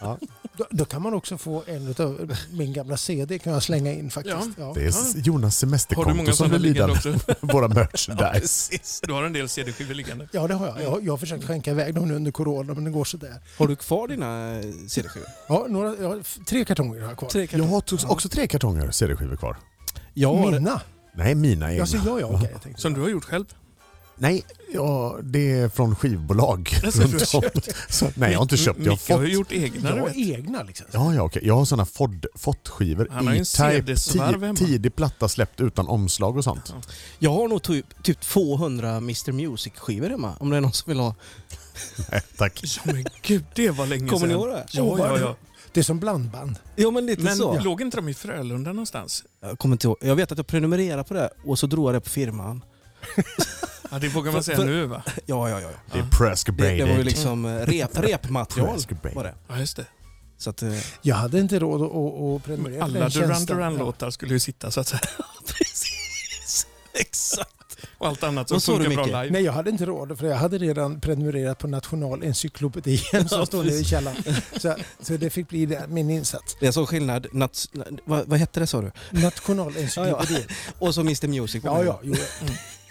Ja. Då, då kan man också få en av min gamla CD kan jag slänga in faktiskt. Ja. Det är s- Jonas Har du semesterkonto många som sådana blir liggande lidande. också? Våra merchandise. Du har en del CD-skivor liggande. Ja, det har jag. jag. Jag har försökt skänka iväg dem nu under corona, men det går sådär. Har du kvar dina eh, CD-skivor? Ja, några, jag har f- tre kartonger har jag kvar. Jag har t- också tre kartonger CD-skivor kvar. Jag har, Mina? Nej, mina egna. Ja, så jag, ja. Okej, jag tänkte. Som du har gjort själv. Nej, ja, det är från skivbolag. Alltså, du har runt om. Så, nej, jag har inte köpt. Jag har Micke har fått ju gjort egna. Jag du har vet. egna liksom. Ja, ja, okej. Jag har såna Ford, Fott-skivor. Han har ju en E-Type, CD-svarv ti- hemma. tidig platta släppt utan omslag och sånt. jag har nog typ, typ 200 Mr Music-skivor hemma. Om det är någon som vill ha. Nej, tack. Ja, men gud, det var länge Kommer sedan. ni ihåg det? Ja, ja, ja. Det är som blandband. Ja, men lite Men så. låg inte de i Frölunda någonstans? Jag kommer inte ihåg. Jag vet att jag prenumererade på det och så drog jag det på firman. Ja, det vågar man För- säga för- nu va? Ja, ja, ja. Det är Ja. Presque Det, det var ju Brady. liksom eh, rep, repmaterial. Presque Var Brady. det. Ja, just det. Så att, eh, Jag hade inte råd att, att, att prenumerera på Alla den Duran tjänsten. Duran-låtar skulle ju sitta så att säga. precis. Exakt. Och allt annat som Vad sa du, funkar bra Micke? live. Nej, jag hade inte råd för jag hade redan prenumererat på Nationalencyklopedin som Ja, står nere i precis. källaren. Så, så det fick bli det, min insats. Det är så skillnad. Nats, na- vad, vad hette det sa du? Nationalencyklopedin. Och så Mr Music. på Ja, den. ja. Jo,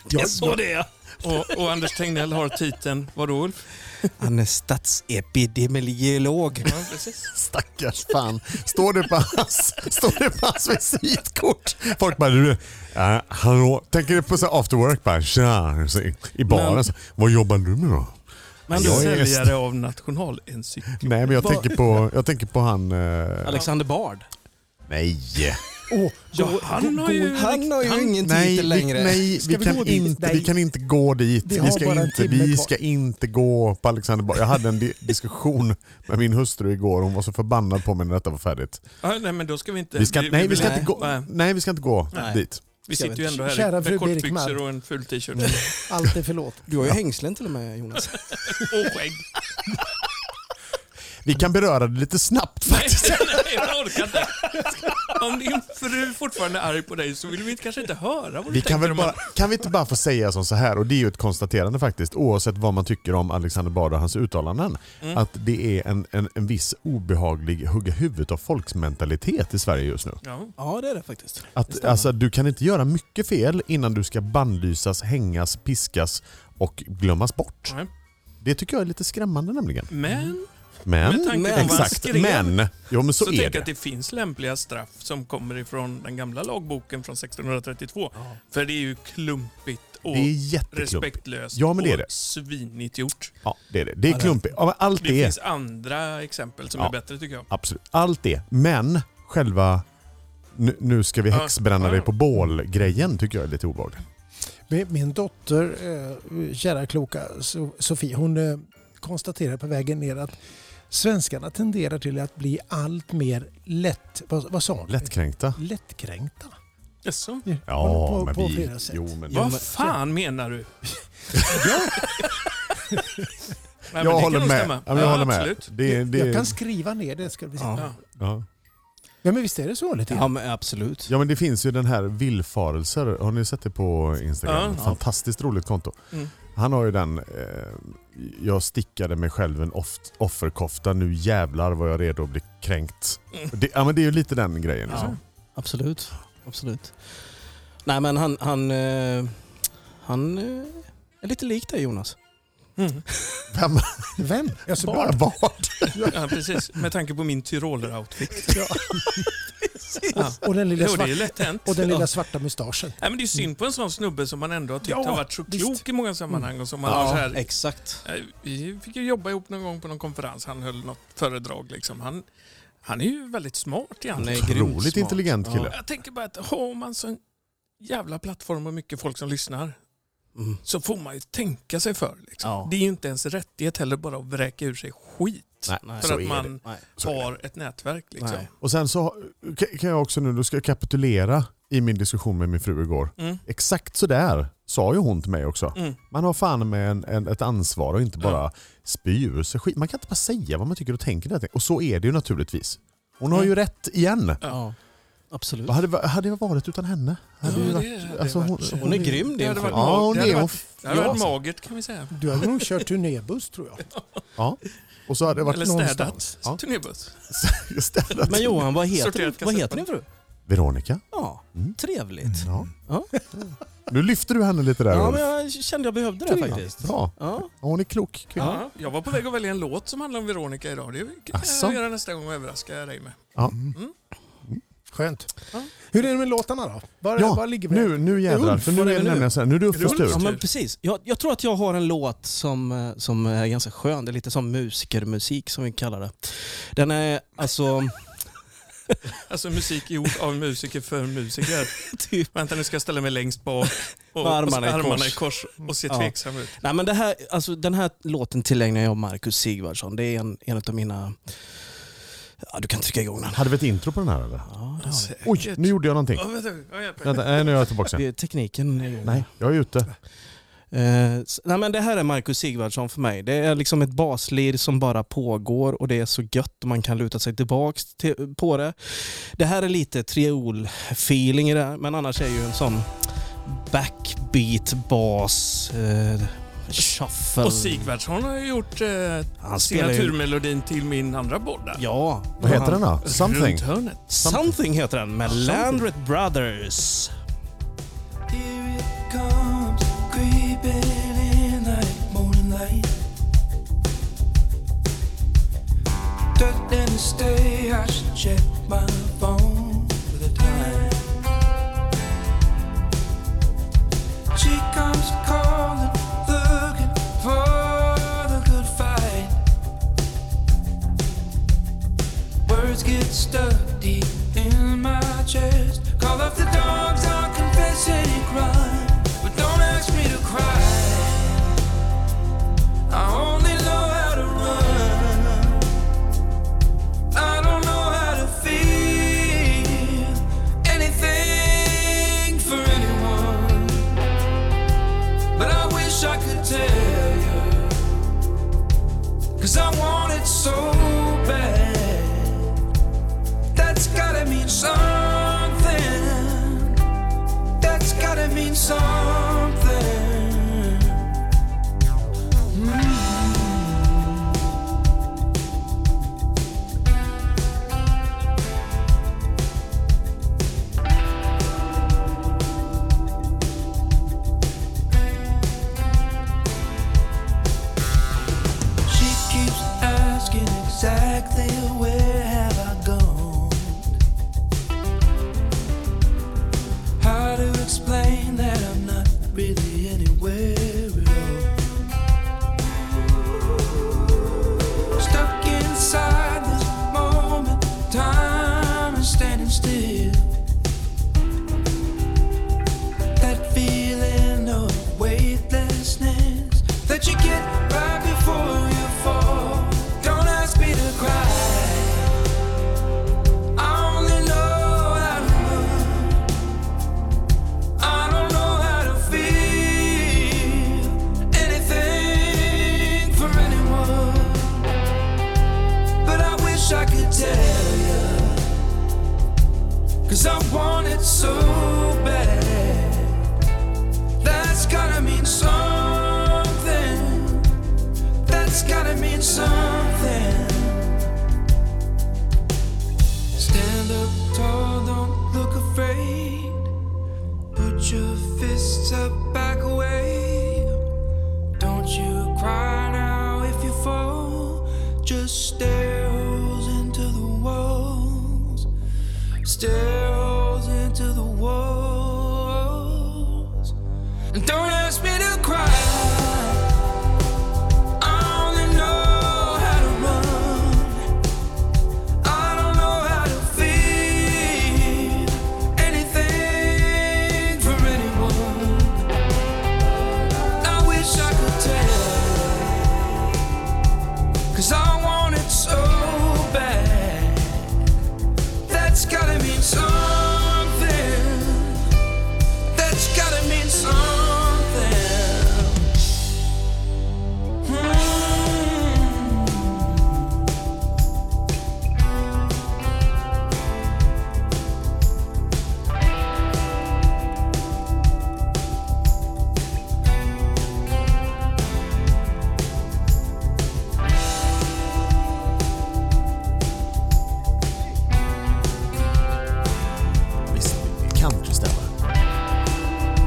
Det är så det är. Och, och Anders Tegnell har titeln, vadå Ulf? Han är statsepidemiolog. Ja, precis. Stackars fan. Står det på hans, står det på hans visitkort? Folk bara, du, äh, hallå? Tänker du på så här after work? Bara, tja, så i, i baren. Men- Så, vad jobbar du med då? Men Jag är säljare av nationalencyklopedin. Nej, men jag Vad- tänker på, jag tänker på han... eh, Alexander Bard. Nej. Åh, Ja, han har ju... Han har ju ingen titel Nej, längre. vi, nej Ska vi, vi kan gå dit? inte, vi Nej. kan inte gå dit. Vi Vi, har bara ska, en inte, timme vi kvar. ska inte gå på Alexanderborg. Jag hade en di- diskussion med min hustru igår. Hon var så förbannad på mig när detta var färdigt. Ja, nej, men då ska vi inte... Vi ska, nej, vi vill ska inte gå, Nej, nej, vi ska inte gå Nej. dit. vi Ska vi sitter ju inte. ändå här Kära i- fru med kortbyxor Birkman. och en ful t-shirt. allt är förlåt. Du har ju hängslen till och med Jonas. Och skägg. Vi kan beröra det lite snabbt Nej, faktiskt. nej, jag orkar inte. Om din fru fortfarande är arg på dig så vill vi inte- kanske inte höra vad du Vi tänker kan, väl om bara, henne. kan vi inte bara få säga som så här, och det är ju ett konstaterande faktiskt, oavsett vad man tycker om Alexander Bard och hans uttalanden, att det är en, en, en viss obehaglig hugga huvudet av folks-mentalitet i Sverige just nu. Ja. Ja, det är det faktiskt. Att, alltså, du kan inte göra mycket fel innan du ska bannlysas, hängas, piskas och glömmas bort. Nej. Det tycker jag är lite skrämmande nämligen. Men Men, Med tanke på men vad han exakt. skrev, Men, jo men så, så, är tänk det. att det finns lämpliga straff som kommer ifrån den gamla lagboken från 1632. För det är ju klumpigt och Det är jätteklumpigt. respektlöst Ja, men det är och det. svinigt gjort. Ja, det är det. Det är klumpigt. Ja, men Allt Det, det är, finns andra exempel som Ja. är bättre tycker jag. absolut. Allt det. Men själva nu, nu ska vi Ja, häxbränna ja. dig på bål-grejen tycker jag är lite obehaglig. Min- Min dotter, eh, kära kloka So- Sofie, hon eh, konstaterar på vägen ner att svenskarna tenderar till att bli allt mer lätt... Vad, vad sa hon? Lättkränkta. Lättkränkta. Jaså? Ja, på- men på vi... flera sätt. Jo, men, Vad fan menar du? Nej, men det jag kan håller nog med. stämma. Ja, men jag håller med. absolut. Det, det, Jag kan skriva ner det. Ska vi se. Ja. Ja. Ja. ja. men visst är det så lite Ja, grann? men absolut. Ja men det finns ju den här villfarelser. Har ni sett det på Instagram? Ja. Fantastiskt roligt konto. Mm. Han har ju den... Eh, jag stickade mig själv en off- offerkofta. Nu jävlar var jag redo att bli kränkt. Mm. Det, ja men det är ju lite den grejen. Ja, Liksom. absolut. absolut. Nej, men han... Han, eh, han eh, är lite lik dig Jonas. Mm. Vem? Vem? Alltså, Bara barn. vad? Ja, precis. Med tanke på min tyroler-outfit. Ja. Och den lilla, Jo, det svart, är lätt hänt. och den Ja. lilla svarta mustaschen. Nej, men det är synd på en sån snubbe som man ändå har tyckt Ja, har varit så visst. klok i många sammanhang. Och som man har så här, exakt. Eh, Vi fick ju jobba ihop någon gång på någon konferens. Han höll något föredrag. Liksom. Han, han är ju väldigt smart Han egentligen. är grymt Otroligt smart. intelligent kille. Jag tänker bara att har man sån jävla plattform och mycket folk som lyssnar Ja. Mm. så får man ju tänka sig för. Liksom. Ja. Det är ju inte ens rättighet heller bara att vräka ur sig skit Nej, för så att är man Nej. Så är det. har ett nätverk. Liksom. Nej. Och sen så har- kan- kan jag också nu, då ska jag kapitulera i min diskussion med min fru igår. Mm. Exakt sådär sa ju hon till mig också. Mm. Man har fan med en, en, ett ansvar och inte bara spy ur sig skit. Man kan inte bara säga vad man tycker och tänker. där. Och så är det ju naturligtvis. Hon har ju rätt igen. Ja. Absolut. Vad hade, vad hade jag varit utan henne? Hade Ja, ju det varit- hade alltså, hon, varit- Hon är grym Det din hade fru. varit, Ja, mag- hon det hade är hon. varit, det hade Ja, varit alltså. magert kan vi säga. Du hade nog kört turnébuss tror jag. Ja. Och så hade jag Eller varit städat. Ja. Turnébuss. städat. Men Johan, vad Sorterat heter, vad kassettband. heter din fru? Veronica. Ja, Mm. trevligt. Ja. Ja. Nu lyfter du henne lite där. Ja, Ulf. men jag kände jag behövde det faktiskt. Bra. Ja. Ja, Hon är klok kvinna. Ja, jag var på väg att välja en låt som handlar om Veronica idag. Det kan Asså? jag göra nästa gång och överraska dig med. Ja. Skönt. Hur är det med låtarna då? Var, Ja, var ligger vi? nu, nu jädrar. Ulf, för nu var är är det vi nu? nämligen så här, nu är det Uffes Ulf? tur. Ja, men precis. Jag, jag tror att jag har en låt som, eh, som är ganska skön. Det är lite som musikermusik som vi kallar det. Den är alltså... Alltså musik gjord av musiker för musiker. typ, Vänta nu ska jag ställa mig längst bak och, Med armarna och så i armarna kors. i kors och se Ja. tveksam ut. nej, men det här, alltså, den här låten tillägnar jag Marcus Sigvardsson. Det är en, en av mina... Ja, du kan trycka igång den. Hade vi ett intro på den här eller? Ja, Ja, ja. säkert. Oj, nu gjorde jag någonting. Alltså, Ja, vänta, ja, hjälp mig. Vänta, nej, nu är jag tillbaka sen. Det är tekniken. är igång. Nej, jag är ute. Eh, s- nej men det här är Marcus Sigvardsson för mig. Det är liksom ett baslir som bara pågår och det är så gött och man kan luta sig tillbaks till, på det. Det här är lite triol-feeling i det här, men annars är ju en sån backbeat, bas, eh, shuffle. Och Sigvardsson har ju gjort eh, Han spelar ju... signaturmelodin till min andra podd. där. Ja. Vad heter den han- då? Something? Runt hörnet. Something heter den med Landret Brothers. Here it comes, creeping in like morning light. Dirt and the stay, I should check my phone for the time. She comes calling, looking for the good fight. Words get stuck deep in my chest, Cause I want it so bad. That's gotta mean something. That's gotta mean something. She keeps asking exactly where have I gone? How to explain that I'm not really anywhere at all? Stuck inside this moment, time is standing still. That feeling of weightlessness that you get right before you fall. Don't ask me to cry. I only know how to love. I don't know how to feel anything for anyone. But I wish I could tell you. Cause I want it so bad. That's gotta mean something. That's gotta mean something. Stand up tall, don't look afraid. Put your fists up, back away. Don't you cry now if you fall. Just stare holes into the walls. Stare holes into the walls. And don't ask me to cry. I only know how to run. I don't know how to feel anything for anyone. I wish I could tell. Cause I want it so bad. That's gotta mean something. That's gotta mean something. Hmm. Visst, countrystämma.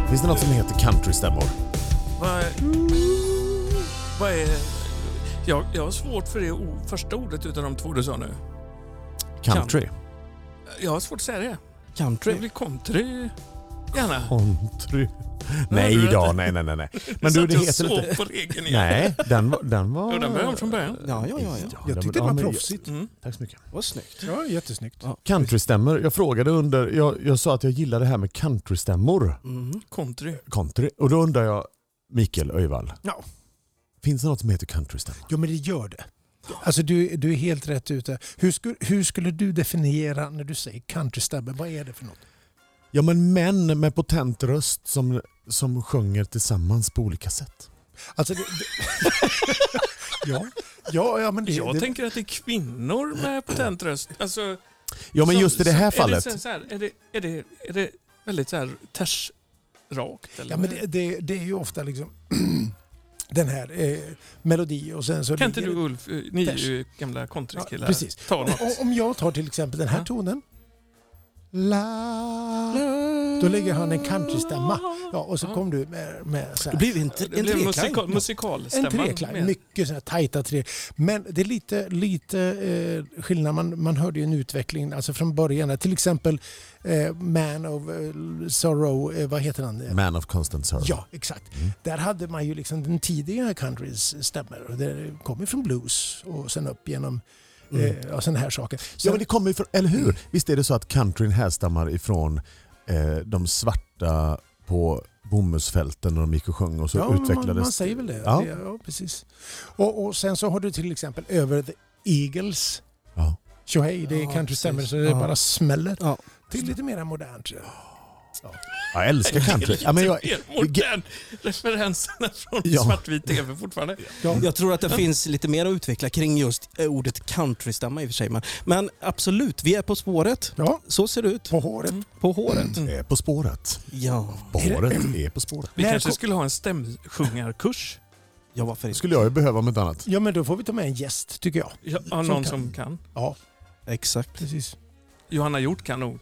Finns det något som heter countrystämmor? Vad, vad är... Jag, jag har svårt för det o- första ordet utan de två du sa nu. Country? Jag har svårt att säga det. Det Country. blir country gärna. Country? Nej du vet då, inte. nej nej nej. nej. Men Så du, att det jag heter såg inte... på regeln igen. Nej, den var... Den var... Jo, den började om från början. Ja, ja, ja. ja. den- Jag tyckte det ja, var men- proffsigt. Mm. Tack så mycket. Vad snyggt. Ja, jättesnyggt. Countrystämmor. Jag frågade under... Jag, jag sa att jag gillar det här med countrystämmor. Mm. Country. Country. Och då undrar jag, Mikael Öjvall. Ja. Finns det något som heter countrystämma? Jo, men det gör det. Alltså du, du är helt rätt ute. Hur, sku, hur skulle du definiera när du säger countrystabber? Vad är det för något? Ja men män med potent röst som, som sjunger tillsammans på olika sätt. Alltså, det, det, ja, ja, ja, men det, Jag det, tänker att det är kvinnor med potent röst. Alltså, Ja men som- just i det här som- Är det, fallet. sen så här, är det, är det, är det väldigt så här tvärsrakt? Eller? ja, men det, det, det är ju ofta liksom den här eh, melodin och sen så... kan inte ligger- du och Ulf, eh, ni är ju gamla Ja, countrykillar, precis. ta något? Om- Om jag tar till exempel den här Ja. tonen. La, då lägger han en countrystämma. Ja, och så Ja. kom du med, med så Det här. blev inte Det en blev treklang. musikal, musikalstämman. En treklang, med- mycket sådana här tajta tre. Men det är lite, lite eh, skillnad. Man, man hörde ju en utveckling alltså från början. där. Till exempel eh, Man of eh, Sorrow, eh, vad heter han? Eh, Man of Constant Sorrow. Mm. Ja, exakt. Där hade man ju liksom den tidiga countrys stämmor. Och Det kom ju från blues och sen upp genom eh, ja, sådana här saker. Mm. Ja Sen, men det kommer ju från, eller hur? Visst är det så att countryn härstammar ifrån eh, de svarta på bomullsfälten när de gick och sjöng och så ja, utvecklades... man, man säger väl det. Ja. det ja, precis. Och, och sen så har du till exempel Över the Eagles. Ja. Tjohej, det Ja, är countrystämmor så det precis. Ja. bara smäller. Ja. Till lite mer modernt. Jag älskar country. Det är Ja, men jag, lite mer mot den referenserna från Ja. svartvit tv fortfarande. Jag tror att det finns lite mer att utveckla kring just eh, ordet countrystämma i och för sig. Men, men absolut, vi är på spåret. Ja, Så ser det ut. på håret. På håret. är på spåret. Ja, Håret är på spåret. Mm. Vi När kanske kom- skulle ha en stämsjungarkurs. ja varför Det inte? skulle jag ju behöva om inte annat. Ja, men då får vi ta med en gäst tycker jag. Ja, någon Som kan. som kan. Ja, Exakt. precis. Johanna Hjort kan nog.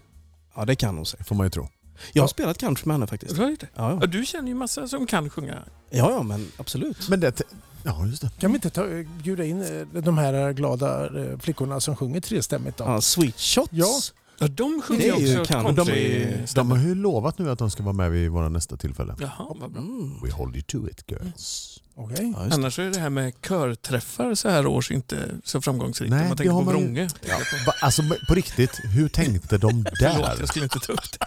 Ja, det kan hon säkert. Får man ju tro. Jag har spelat country med henne faktiskt. Du har gjort det. Ja, Ja, ja. du känner ju massa som kan sjunga. ja, ja men absolut. Men det... Ja, just det. Kan vi inte ta, bjuda in eh, de här glada eh, flickorna som sjunger trestämmigt då? Ja, sweet shots. Ja. Ja, de sjunger Det är ju också ett country. country. De har ju lovat nu att de ska vara med vid våra nästa tillfälle. Jaha, vad bra. Mm. We hold you to it girls. Okej. Ja, just det. Annars är det här med körträffar så här års inte så framgångsrikt. Nej, Om det man tänker har på man ju- Vrånge. Ja. Va, alltså på riktigt, hur tänkte de Förlåt, jag där? skulle inte ta upp det.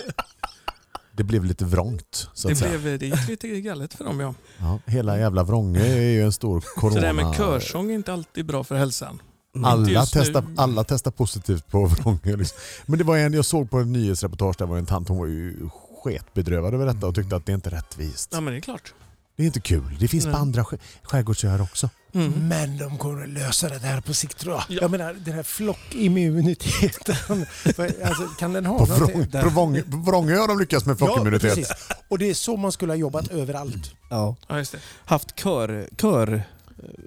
Det blev lite vrångt så att Det, säga. blev, det gick lite galet för dem ja. Ja, hela jävla Vrånge är ju en stor corona... Så det här med körsång är inte alltid bra för hälsan. Inte Alla just nu. testar, alla testar positivt på Vrånge. Liksom. Men det var en, jag såg på en nyhetsreportage där var en tant, hon var ju sketbedrövad över detta och tyckte att det är inte rättvist. Ja men det är klart. Det är inte kul. Det finns på Nej. andra sk- skärgårdsöar också. Mm. Men de kommer att lösa det där på sikt tror jag. Ja. Jag menar den här flockimmuniteten. För, alltså, kan den ha På någonting? Vrång- på Vrång- på Vrångö har de lyckats med Ja, flockimmunitet. precis. Och det är så man skulle ha jobbat överallt. Ja. Ja, just det. Haft kör... kör eh,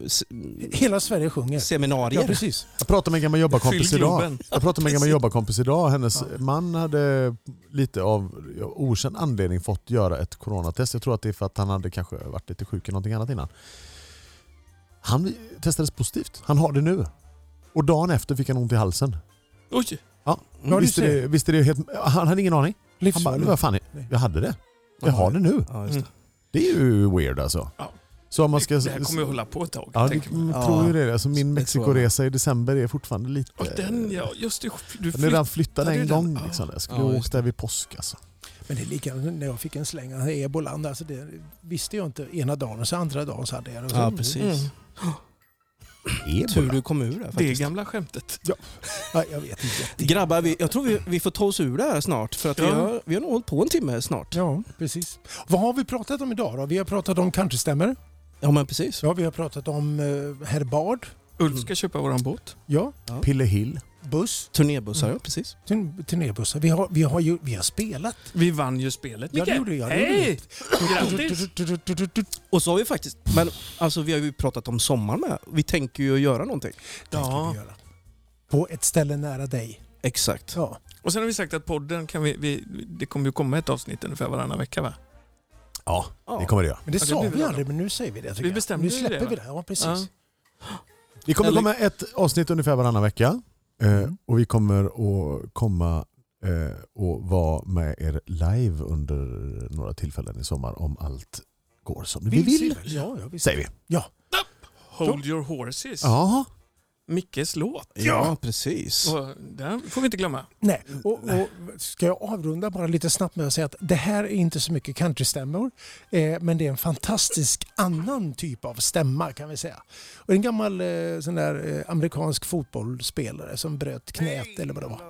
se- Hela Sverige sjunger. seminarier. Ja, precis. jag pratade med en gammal jobbarkompis Fyll idag. Globen. Jag pratade med en gammal jobbarkompis idag. Hennes Ja. man hade lite av ja, okänd anledning fått göra ett coronatest. Jag tror att det är för att han hade kanske varit lite sjuk eller någonting annat innan. Han testades positivt. Han har det nu. Och dagen efter fick han ont i halsen. Oj, Ja, du visste, ser. det, visste det helt, han hade ingen aning. Han bara, Livsfarligt. vad fan, jag hade det. Jag har det nu. Ja, just det. Det är ju weird alltså. Ja. Så om man ska... det här kommer ju hålla på ett tag. Ja, tänker du man. man. tror ju Ja, det. Alltså, min det tror jag. Mexikoresa i december är fortfarande lite... Och den ja, just det. Du Eh, Den är redan flyttad flyttade en den. gång. Ja. Liksom. Jag skulle Ja, ha just åkt där vid påsk alltså. Men det är likadant när jag fick en släng av ebolan. Alltså det visste jag inte ena dagen och så andra dagen så hade jag det. Och så- Ja, precis. Mm. Tur du kom ur det Det faktiskt. gamla skämtet. Ja, jag vet inte. Grabbar, vi, jag tror vi, vi får ta oss ur det här snart. För att vi, Ja. har, vi har nog hållit på en timme snart. Ja, precis. Vad har vi pratat om idag då? Vi har pratat om countrystämmor. Ja, men precis. Ja, vi har pratat om eh, herr Bard. Ulf ska köpa våran båt. Ja, Pille Hill. buss. Turnébussar, ja precis. turn- Turnébussar. Vi har, vi, har ju, vi har spelat. Vi vann ju spelet Ja, Micke. det gjorde jag. Det gjorde Hej! Grattis! Och så har vi faktiskt, men alltså vi har ju pratat om sommaren med. Vi tänker ju att göra någonting. Ja. Ja. Vi göra. På ett ställe nära dig. Exakt. Ja. Och sen har vi sagt att podden kan vi, vi det kommer ju komma ett avsnitt ungefär varannan vecka va? Ja, Ja. det kommer det göra. Men det det sa blir väl vi bra. aldrig, men nu säger vi det. tycker Vi jag. bestämde nu ju släpper det, va? vi det. Ja, precis. Ja. Det kommer Eller- komma ett avsnitt ungefär varannan vecka. Eh, och vi kommer att komma eh, och vara med er live under några tillfällen i sommar om allt går som vi vill. Ja, ja, visst. Säger vi. Hold your horses. Ja. Mickes låt. Ja, precis. Och den får vi inte glömma. Nej. Och, och, ska jag avrunda bara lite snabbt med att säga att det här är inte så mycket countrystämmor, eh, men det är en fantastisk annan typ av stämma kan vi säga. Och en gammal eh, sån där eh, amerikansk fotbollsspelare som bröt knät eller vad det var.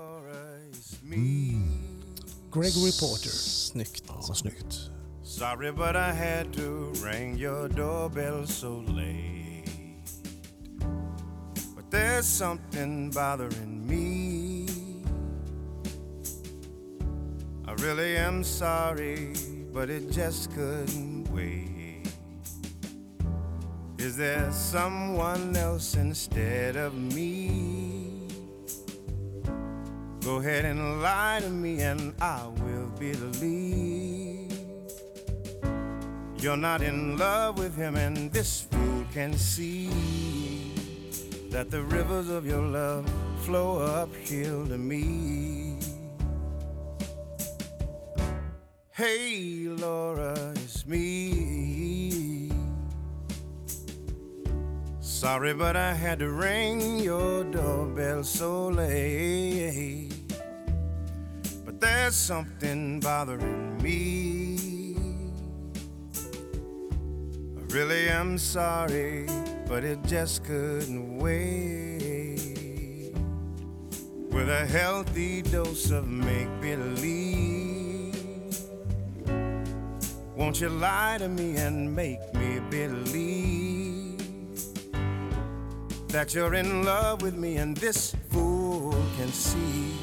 Gregory Porter. Snyggt. ja, vad snyggt. Sorry, but I had to ring your doorbell so late. But there's something bothering me. I really am sorry, but it just couldn't wait. Is there someone else instead of me? Go ahead and lie to me, and I will believe. You're not in love with him, and this fool can see that the rivers of your love flow uphill to me. Hey, Laura, it's me. Sorry, but I had to ring your doorbell so late. But there's something bothering me. I really am sorry, but it just couldn't wait. With a healthy dose of make believe, Won't you lie to me and make me believe that you're in love with me and this fool can see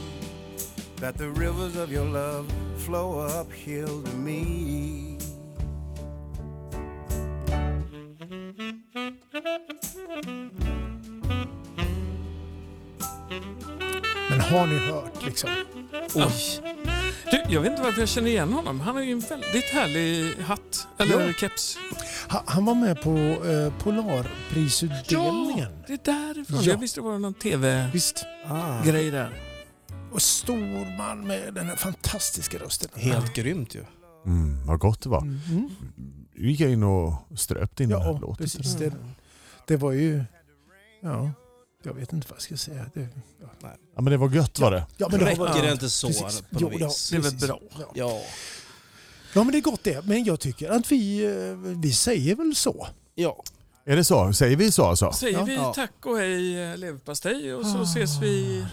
that the rivers of your love flow uphill to me. Men har ni hört liksom? Du, jag vet inte varför jag känner igen honom. Han har ju en väldigt härlig hatt. Eller Ja. keps. Ha, han var med på eh, Polarprisutdelningen. Det är därifrån. Ja. Jag visste det var någon tv-grej Visst. där. Och stor man med den här fantastiska rösten. Helt grymt ju. Mm, vad gott det var. Nu gick jag in och ströp in den här Ja, låten. precis. Det, det var ju... Ja, jag vet inte vad jag ska säga. Det, ja. Ja, men det var gött var det. Ja, men det har varit- Räcker det inte så Precis. på Jo, något det vis? Det är väl Precis. bra. Ja. Ja. ja, men det är gott det. Men jag tycker att vi, eh, vi säger väl så. ja. Är det så? Säger vi så alltså? Säger Ja. Ah. vi Ja. tack och hej eh, leverpastej och så ses vi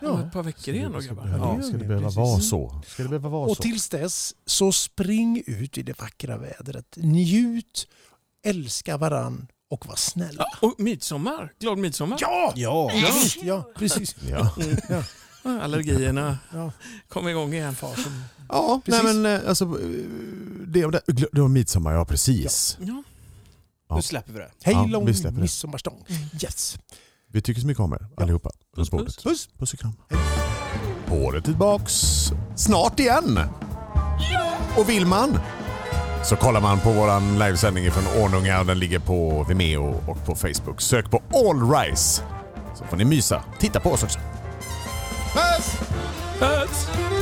om Ja. ett par veckor igen då grabbar. Ja, det ska gör det vi, behöva precis. vara så? Ska det behöva vara Och så? tills dess så spring ut i det vackra vädret. Njut, älska varann och var snälla. Ja, Ah, och midsommar. Glad midsommar. Ja! Ja. Visst, ja precis. Ja. Ah, Allergierna Ja. kom igång igen. Ja, nej Precis. men eh, alltså, eh, det, det, det var midsommar, ja precis. Ja. Nu släpper vi det. Hej Ja, lång vi släpper det. midsommarstång. Yes. Vi tycker så mycket om er allihopa. Puss, puss. puss. puss och kram. Året tillbaks snart igen. Och vill man så kollar man på våran livesändning från Ornunga. Den ligger på Vimeo och på Facebook. Sök på All Rise så får ni mysa. Titta på oss också. Puss!